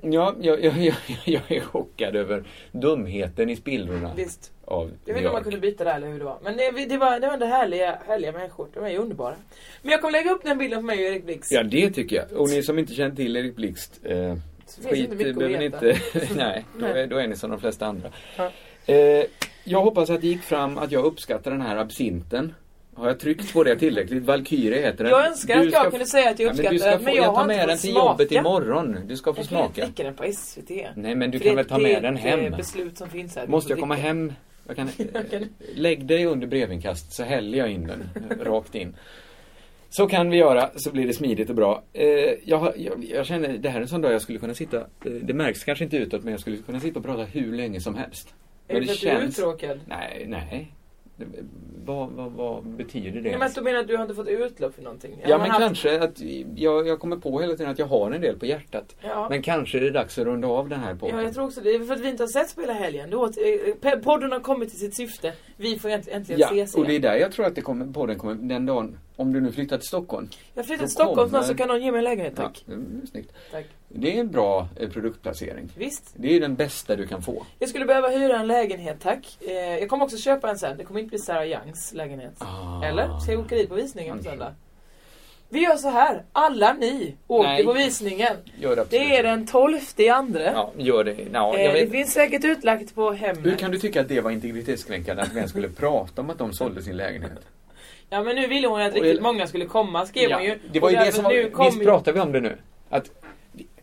Speaker 7: Ja, jag, jag, jag, jag är chockad över dumheten i spillrorna.
Speaker 8: visst.
Speaker 7: Av
Speaker 8: Jag vet inte om man
Speaker 7: Björk.
Speaker 8: kunde byta där eller hur det var. Men det, det var, det var ändå härliga, härliga människor. De är ju underbara. Men jag kommer lägga upp den bilden på mig och Erik Blix.
Speaker 7: Ja, det tycker jag. Och ni som inte känner till Erik Blixt, eh,
Speaker 8: finns det
Speaker 7: skit
Speaker 8: inte mycket att
Speaker 7: behöver ni
Speaker 8: veta.
Speaker 7: inte... Nej, då är, då är ni som de flesta andra.
Speaker 8: Ja.
Speaker 7: Eh, jag hoppas att det gick fram att jag uppskattar den här absinten. Har jag tryckt på det tillräckligt? Valkyrie heter den.
Speaker 8: Jag önskar att jag
Speaker 7: ska-
Speaker 8: kunde säga att jag
Speaker 7: Ja, men du ska
Speaker 8: uppskattar den,
Speaker 7: få,
Speaker 8: men jag
Speaker 7: jag,
Speaker 8: har
Speaker 7: tar
Speaker 8: inte
Speaker 7: med
Speaker 8: fått
Speaker 7: den till
Speaker 8: smaka.
Speaker 7: jobbet imorgon. Du ska få
Speaker 8: Jag kan inte
Speaker 7: smaka.
Speaker 8: dricka den på SVT.
Speaker 7: Nej, men du
Speaker 8: För
Speaker 7: kan
Speaker 8: det-
Speaker 7: väl ta
Speaker 8: det
Speaker 7: med
Speaker 8: är
Speaker 7: den
Speaker 8: ett,
Speaker 7: hem?
Speaker 8: eh, beslut som finns här.
Speaker 7: Måste jag
Speaker 8: Du
Speaker 7: komma
Speaker 8: får
Speaker 7: hem? Jag kan, eh,
Speaker 8: dricka.
Speaker 7: lägg dig under brevinkast så häller jag in den rakt in. Så kan vi göra, så blir det smidigt och bra. Eh, jag, har- jag, jag känner, det här är en sån dag jag skulle kunna sitta, eh, det märks kanske inte utåt, men jag skulle kunna sitta och prata hur länge som helst.
Speaker 8: Är
Speaker 7: Men
Speaker 8: det för att du är uttråkad?
Speaker 7: Nej, nej. Det- Vad, vad, vad betyder det?
Speaker 8: Nej, men du menar att du har inte fått utlopp för någonting?
Speaker 7: Ja,
Speaker 8: Man
Speaker 7: men
Speaker 8: har haft-
Speaker 7: kanske att jag, jag kommer på hela tiden att jag har en del på hjärtat.
Speaker 8: Ja.
Speaker 7: Men kanske är det dags att runda av den här podden.
Speaker 8: Ja, jag tror också det. Det är för att vi inte har sett på hela helgen. Du åt, eh, pe- podden har kommit till sitt syfte. Vi får änt- äntligen
Speaker 7: Ja,
Speaker 8: ses
Speaker 7: och det är
Speaker 8: igen.
Speaker 7: där jag tror att det kommer, podden kommer, den dagen, om du nu flyttar till Stockholm.
Speaker 8: Jag flyttar
Speaker 7: Då
Speaker 8: till Stockholm snart
Speaker 7: kommer-
Speaker 8: så kan någon ge mig en lägenhet,
Speaker 7: Ja,
Speaker 8: tack.
Speaker 7: mm, snyggt.
Speaker 8: tack.
Speaker 7: Det är en bra eh, produktplacering.
Speaker 8: Visst.
Speaker 7: Det är ju den bästa du kan få.
Speaker 8: Jag skulle behöva hyra en lägenhet, tack. Eh, jag kommer också köpa en sen. Det kommer inte bli Sarah Youngs lägenhet.
Speaker 7: Ah.
Speaker 8: Eller? Ska jag åka dit på visningen på
Speaker 7: Kanske.
Speaker 8: söndag? Vi gör så här. Alla ni åker
Speaker 7: Nej.
Speaker 8: på visningen.
Speaker 7: Gör det absolut.
Speaker 8: Det är den 12 i andra.
Speaker 7: Ja, gör det. Ja,
Speaker 8: eh,
Speaker 7: jag
Speaker 8: det
Speaker 7: vet.
Speaker 8: finns säkert utlagt på
Speaker 7: Hur
Speaker 8: hemmet.
Speaker 7: kan du tycka att det var integritetskränkande att vi ens skulle prata om att de sålde sin lägenhet?
Speaker 8: Ja men nu ville hon att riktigt många skulle komma skrev hon ju.
Speaker 7: det var ju
Speaker 8: Och
Speaker 7: det
Speaker 8: därför
Speaker 7: som var,
Speaker 8: nu kom
Speaker 7: visst
Speaker 8: ju-
Speaker 7: pratar vi om det nu? Att,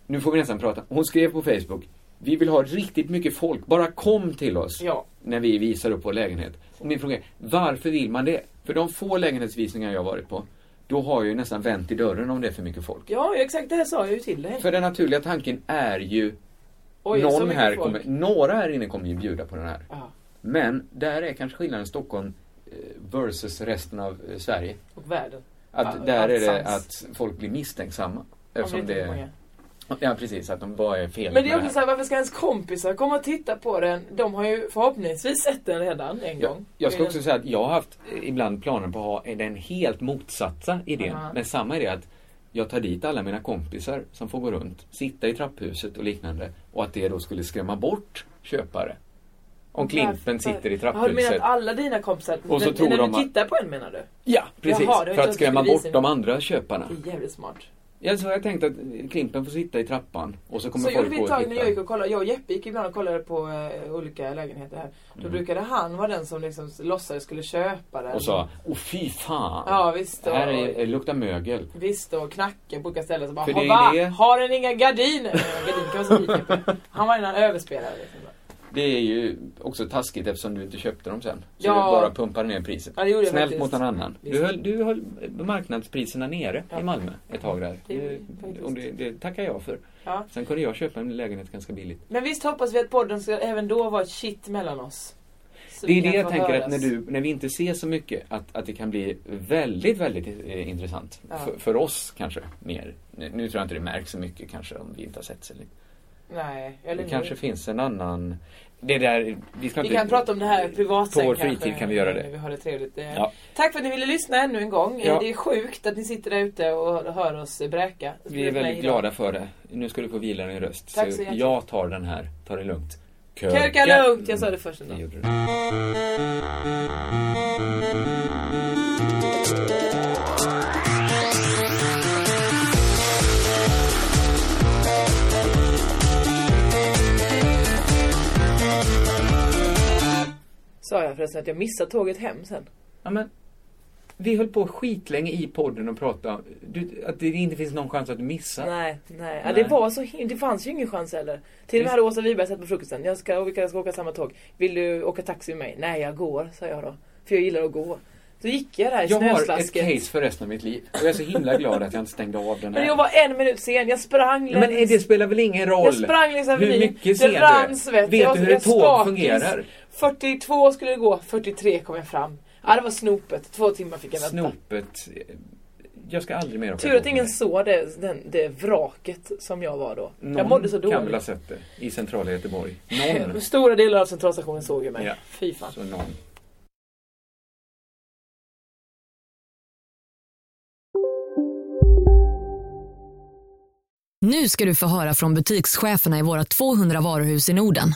Speaker 7: nu får vi nästan prata. Hon skrev på Facebook, vi vill ha riktigt mycket folk, bara kom till oss.
Speaker 8: Ja.
Speaker 7: när vi visar upp vår lägenhet. Och min fråga är, varför vill man det? För de få lägenhetsvisningar jag har varit på, då har jag ju nästan vänt i dörren om det är för mycket folk.
Speaker 8: Ja exakt det här sa jag ju till dig.
Speaker 7: För den naturliga tanken är ju,
Speaker 8: Oj, så
Speaker 7: någon
Speaker 8: mycket
Speaker 7: här
Speaker 8: folk.
Speaker 7: kommer, några här inne kommer ju bjuda på den här.
Speaker 8: Ja.
Speaker 7: Men där är kanske skillnaden Stockholm eh, versus resten av eh, Sverige.
Speaker 8: Och världen.
Speaker 7: Att
Speaker 8: Ja,
Speaker 7: där är det
Speaker 8: sans.
Speaker 7: att folk blir misstänksamma.
Speaker 8: Om det
Speaker 7: Eftersom
Speaker 8: inte är
Speaker 7: det
Speaker 8: många.
Speaker 7: Ja precis, att de bara är fel
Speaker 8: Men
Speaker 7: med
Speaker 8: det är också
Speaker 7: här.
Speaker 8: såhär, varför ska ens kompisar komma och titta på den? De har ju förhoppningsvis sett den redan en
Speaker 7: Jag,
Speaker 8: gång.
Speaker 7: jag ska
Speaker 8: Det är
Speaker 7: också
Speaker 8: en-
Speaker 7: säga att jag har haft eh, ibland planer på att ha den helt motsatta idén.
Speaker 8: Aha.
Speaker 7: Men samma idé att jag tar dit alla mina kompisar som får gå runt, sitta i trapphuset och liknande och att det då skulle skrämma bort köpare. Om Klimpen sitter i
Speaker 8: Har du menat
Speaker 7: trapphuset.
Speaker 8: att alla dina kompisar?
Speaker 7: Och så
Speaker 8: men,
Speaker 7: tror
Speaker 8: när
Speaker 7: de
Speaker 8: du
Speaker 7: att-
Speaker 8: tittar på en menar du?
Speaker 7: Ja, precis.
Speaker 8: Jaha, det var
Speaker 7: för
Speaker 8: inte
Speaker 7: att skrämma
Speaker 8: bevisning.
Speaker 7: bort de andra köparna.
Speaker 8: Det är jävligt smart.
Speaker 7: Ja, så har jag tänkt att eh, Klimpen får sitta i trappan och så kommer
Speaker 8: Så gjorde
Speaker 7: folk
Speaker 8: vi
Speaker 7: gå
Speaker 8: ett
Speaker 7: och
Speaker 8: tag när jag gick
Speaker 7: titta.
Speaker 8: och kollade. Jag och Jeppe gick ibland och kollade på eh, olika lägenheter här. Då
Speaker 7: Mm.
Speaker 8: brukade han vara den som liksom låtsades skulle köpa den.
Speaker 7: Och sa, åh fy fan.
Speaker 8: Ja, visst. Och,
Speaker 7: Här är, eh, luktar mögel.
Speaker 8: Visst, och knacka på olika ställen. Så bara,
Speaker 7: För det är ju
Speaker 8: "Hova,
Speaker 7: det-
Speaker 8: har den inga gardiner? Eh, Gardiner kan vara så lika på. Han var innan överspelare. Liksom.
Speaker 7: Det är ju också taskigt eftersom du inte köpte dem sen. Så
Speaker 8: Ja.
Speaker 7: du bara pumpar ner priset.
Speaker 8: Ja, det gjorde jag
Speaker 7: Snällt mot
Speaker 8: faktiskt.
Speaker 7: någon annan.
Speaker 8: Visst.
Speaker 7: Du höll, du höll marknadspriserna nere
Speaker 8: Ja.
Speaker 7: i Malmö ett tag där.
Speaker 8: Det gjorde
Speaker 7: Det,
Speaker 8: jag faktiskt.
Speaker 7: och det, det tackar jag för.
Speaker 8: Ja.
Speaker 7: Sen kunde jag köpa en lägenhet ganska billigt.
Speaker 8: Men visst hoppas vi att podden ska även då vara ett shit mellan oss. Så
Speaker 7: det
Speaker 8: vi
Speaker 7: är det
Speaker 8: kan
Speaker 7: jag
Speaker 8: få
Speaker 7: tänker
Speaker 8: höras.
Speaker 7: att när, du, när vi inte ser så mycket att, att det kan bli väldigt, väldigt eh, intressant.
Speaker 8: Ja.
Speaker 7: För, för oss kanske mer. Nu, nu tror jag inte det märks så mycket kanske om vi inte har sett så länge.
Speaker 8: Nej, eller
Speaker 7: Det
Speaker 8: nu.
Speaker 7: kanske finns en annan... Det där, vi ska
Speaker 8: Vi
Speaker 7: inte...
Speaker 8: kan prata om det här privat
Speaker 7: På
Speaker 8: sen
Speaker 7: vår
Speaker 8: kanske,
Speaker 7: fritid kan vi göra
Speaker 8: när Vi
Speaker 7: det.
Speaker 8: har det trevligt. Eh,
Speaker 7: Ja.
Speaker 8: Tack för att ni ville lyssna ännu en gång. Eh,
Speaker 7: Ja.
Speaker 8: Det är sjukt att ni sitter där ute och hör oss eh, bräka.
Speaker 7: Vi är
Speaker 8: Spela
Speaker 7: väldigt
Speaker 8: idag.
Speaker 7: glada för det. Nu ska du få vila din röst.
Speaker 8: Tack så
Speaker 7: så
Speaker 8: jättemycket.
Speaker 7: jag tar den här. Ta det lugnt.
Speaker 8: Körka lugnt! Jag sa det först ändå.
Speaker 7: Det gjorde du.
Speaker 8: Sa jag förresten att jag missar tåget hem sen?
Speaker 7: Ja, men Vi höll på skitlänge i podden och pratade om du, att det inte finns någon chans att du missar.
Speaker 8: Nej, nej. Ja, det var så him- Det fanns ju ingen chans heller. Till och med hade Åsa Wiberg sett på frukosten. Jag ska, och vi kan- ska åka samma tåg. Vill du åka taxi med mig? Nej, jag går, sa jag då. För jag gillar att gå. Så gick jag där i
Speaker 7: Jag har ett
Speaker 8: snöslasket.
Speaker 7: case för resten av mitt liv. Och jag är så himla glad att jag inte stängde av den
Speaker 8: Men
Speaker 7: här.
Speaker 8: jag var en minut sen. Jag sprang
Speaker 7: Ja, men det spelar väl ingen roll?
Speaker 8: Jag sprang liksom längs
Speaker 7: Hur
Speaker 8: Avenyn.
Speaker 7: mycket ser
Speaker 8: Det
Speaker 7: du?
Speaker 8: rann svett.
Speaker 7: Vet
Speaker 8: jag var
Speaker 7: du hur ett
Speaker 8: jag
Speaker 7: tåg
Speaker 8: spakis.
Speaker 7: fungerar?
Speaker 8: 42 skulle det gå. 43 kom jag fram. Ja, det var snopet. Två timmar fick jag vänta.
Speaker 7: Snopet. Jag ska aldrig mer åka
Speaker 8: Tur att
Speaker 7: tåg.
Speaker 8: ingen såg det, den, det vraket som jag var då. jag
Speaker 7: Någon
Speaker 8: mådde så
Speaker 7: kan väl ha
Speaker 8: dåligt.
Speaker 7: sett det i centrala Göteborg. Någon.
Speaker 8: Stora delar av centralstationen såg ju mig.
Speaker 7: Ja.
Speaker 8: Fy fan.
Speaker 7: Så någon.
Speaker 1: Nu ska du få höra från butikscheferna i våra 200 varuhus i Norden.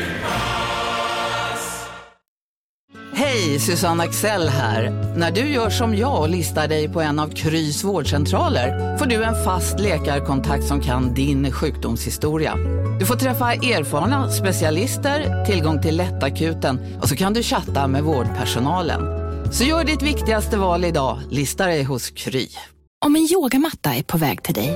Speaker 11: Hej, Susanne Axel här. När du gör som jag och listar dig på en av Krys vårdcentraler får du en fast läkarkontakt som kan din sjukdomshistoria. Du får träffa erfarna specialister, tillgång till lättakuten och så kan du chatta med vårdpersonalen. Så gör ditt viktigaste val idag, lista dig hos Kry.
Speaker 14: Om en yogamatta är på väg till dig,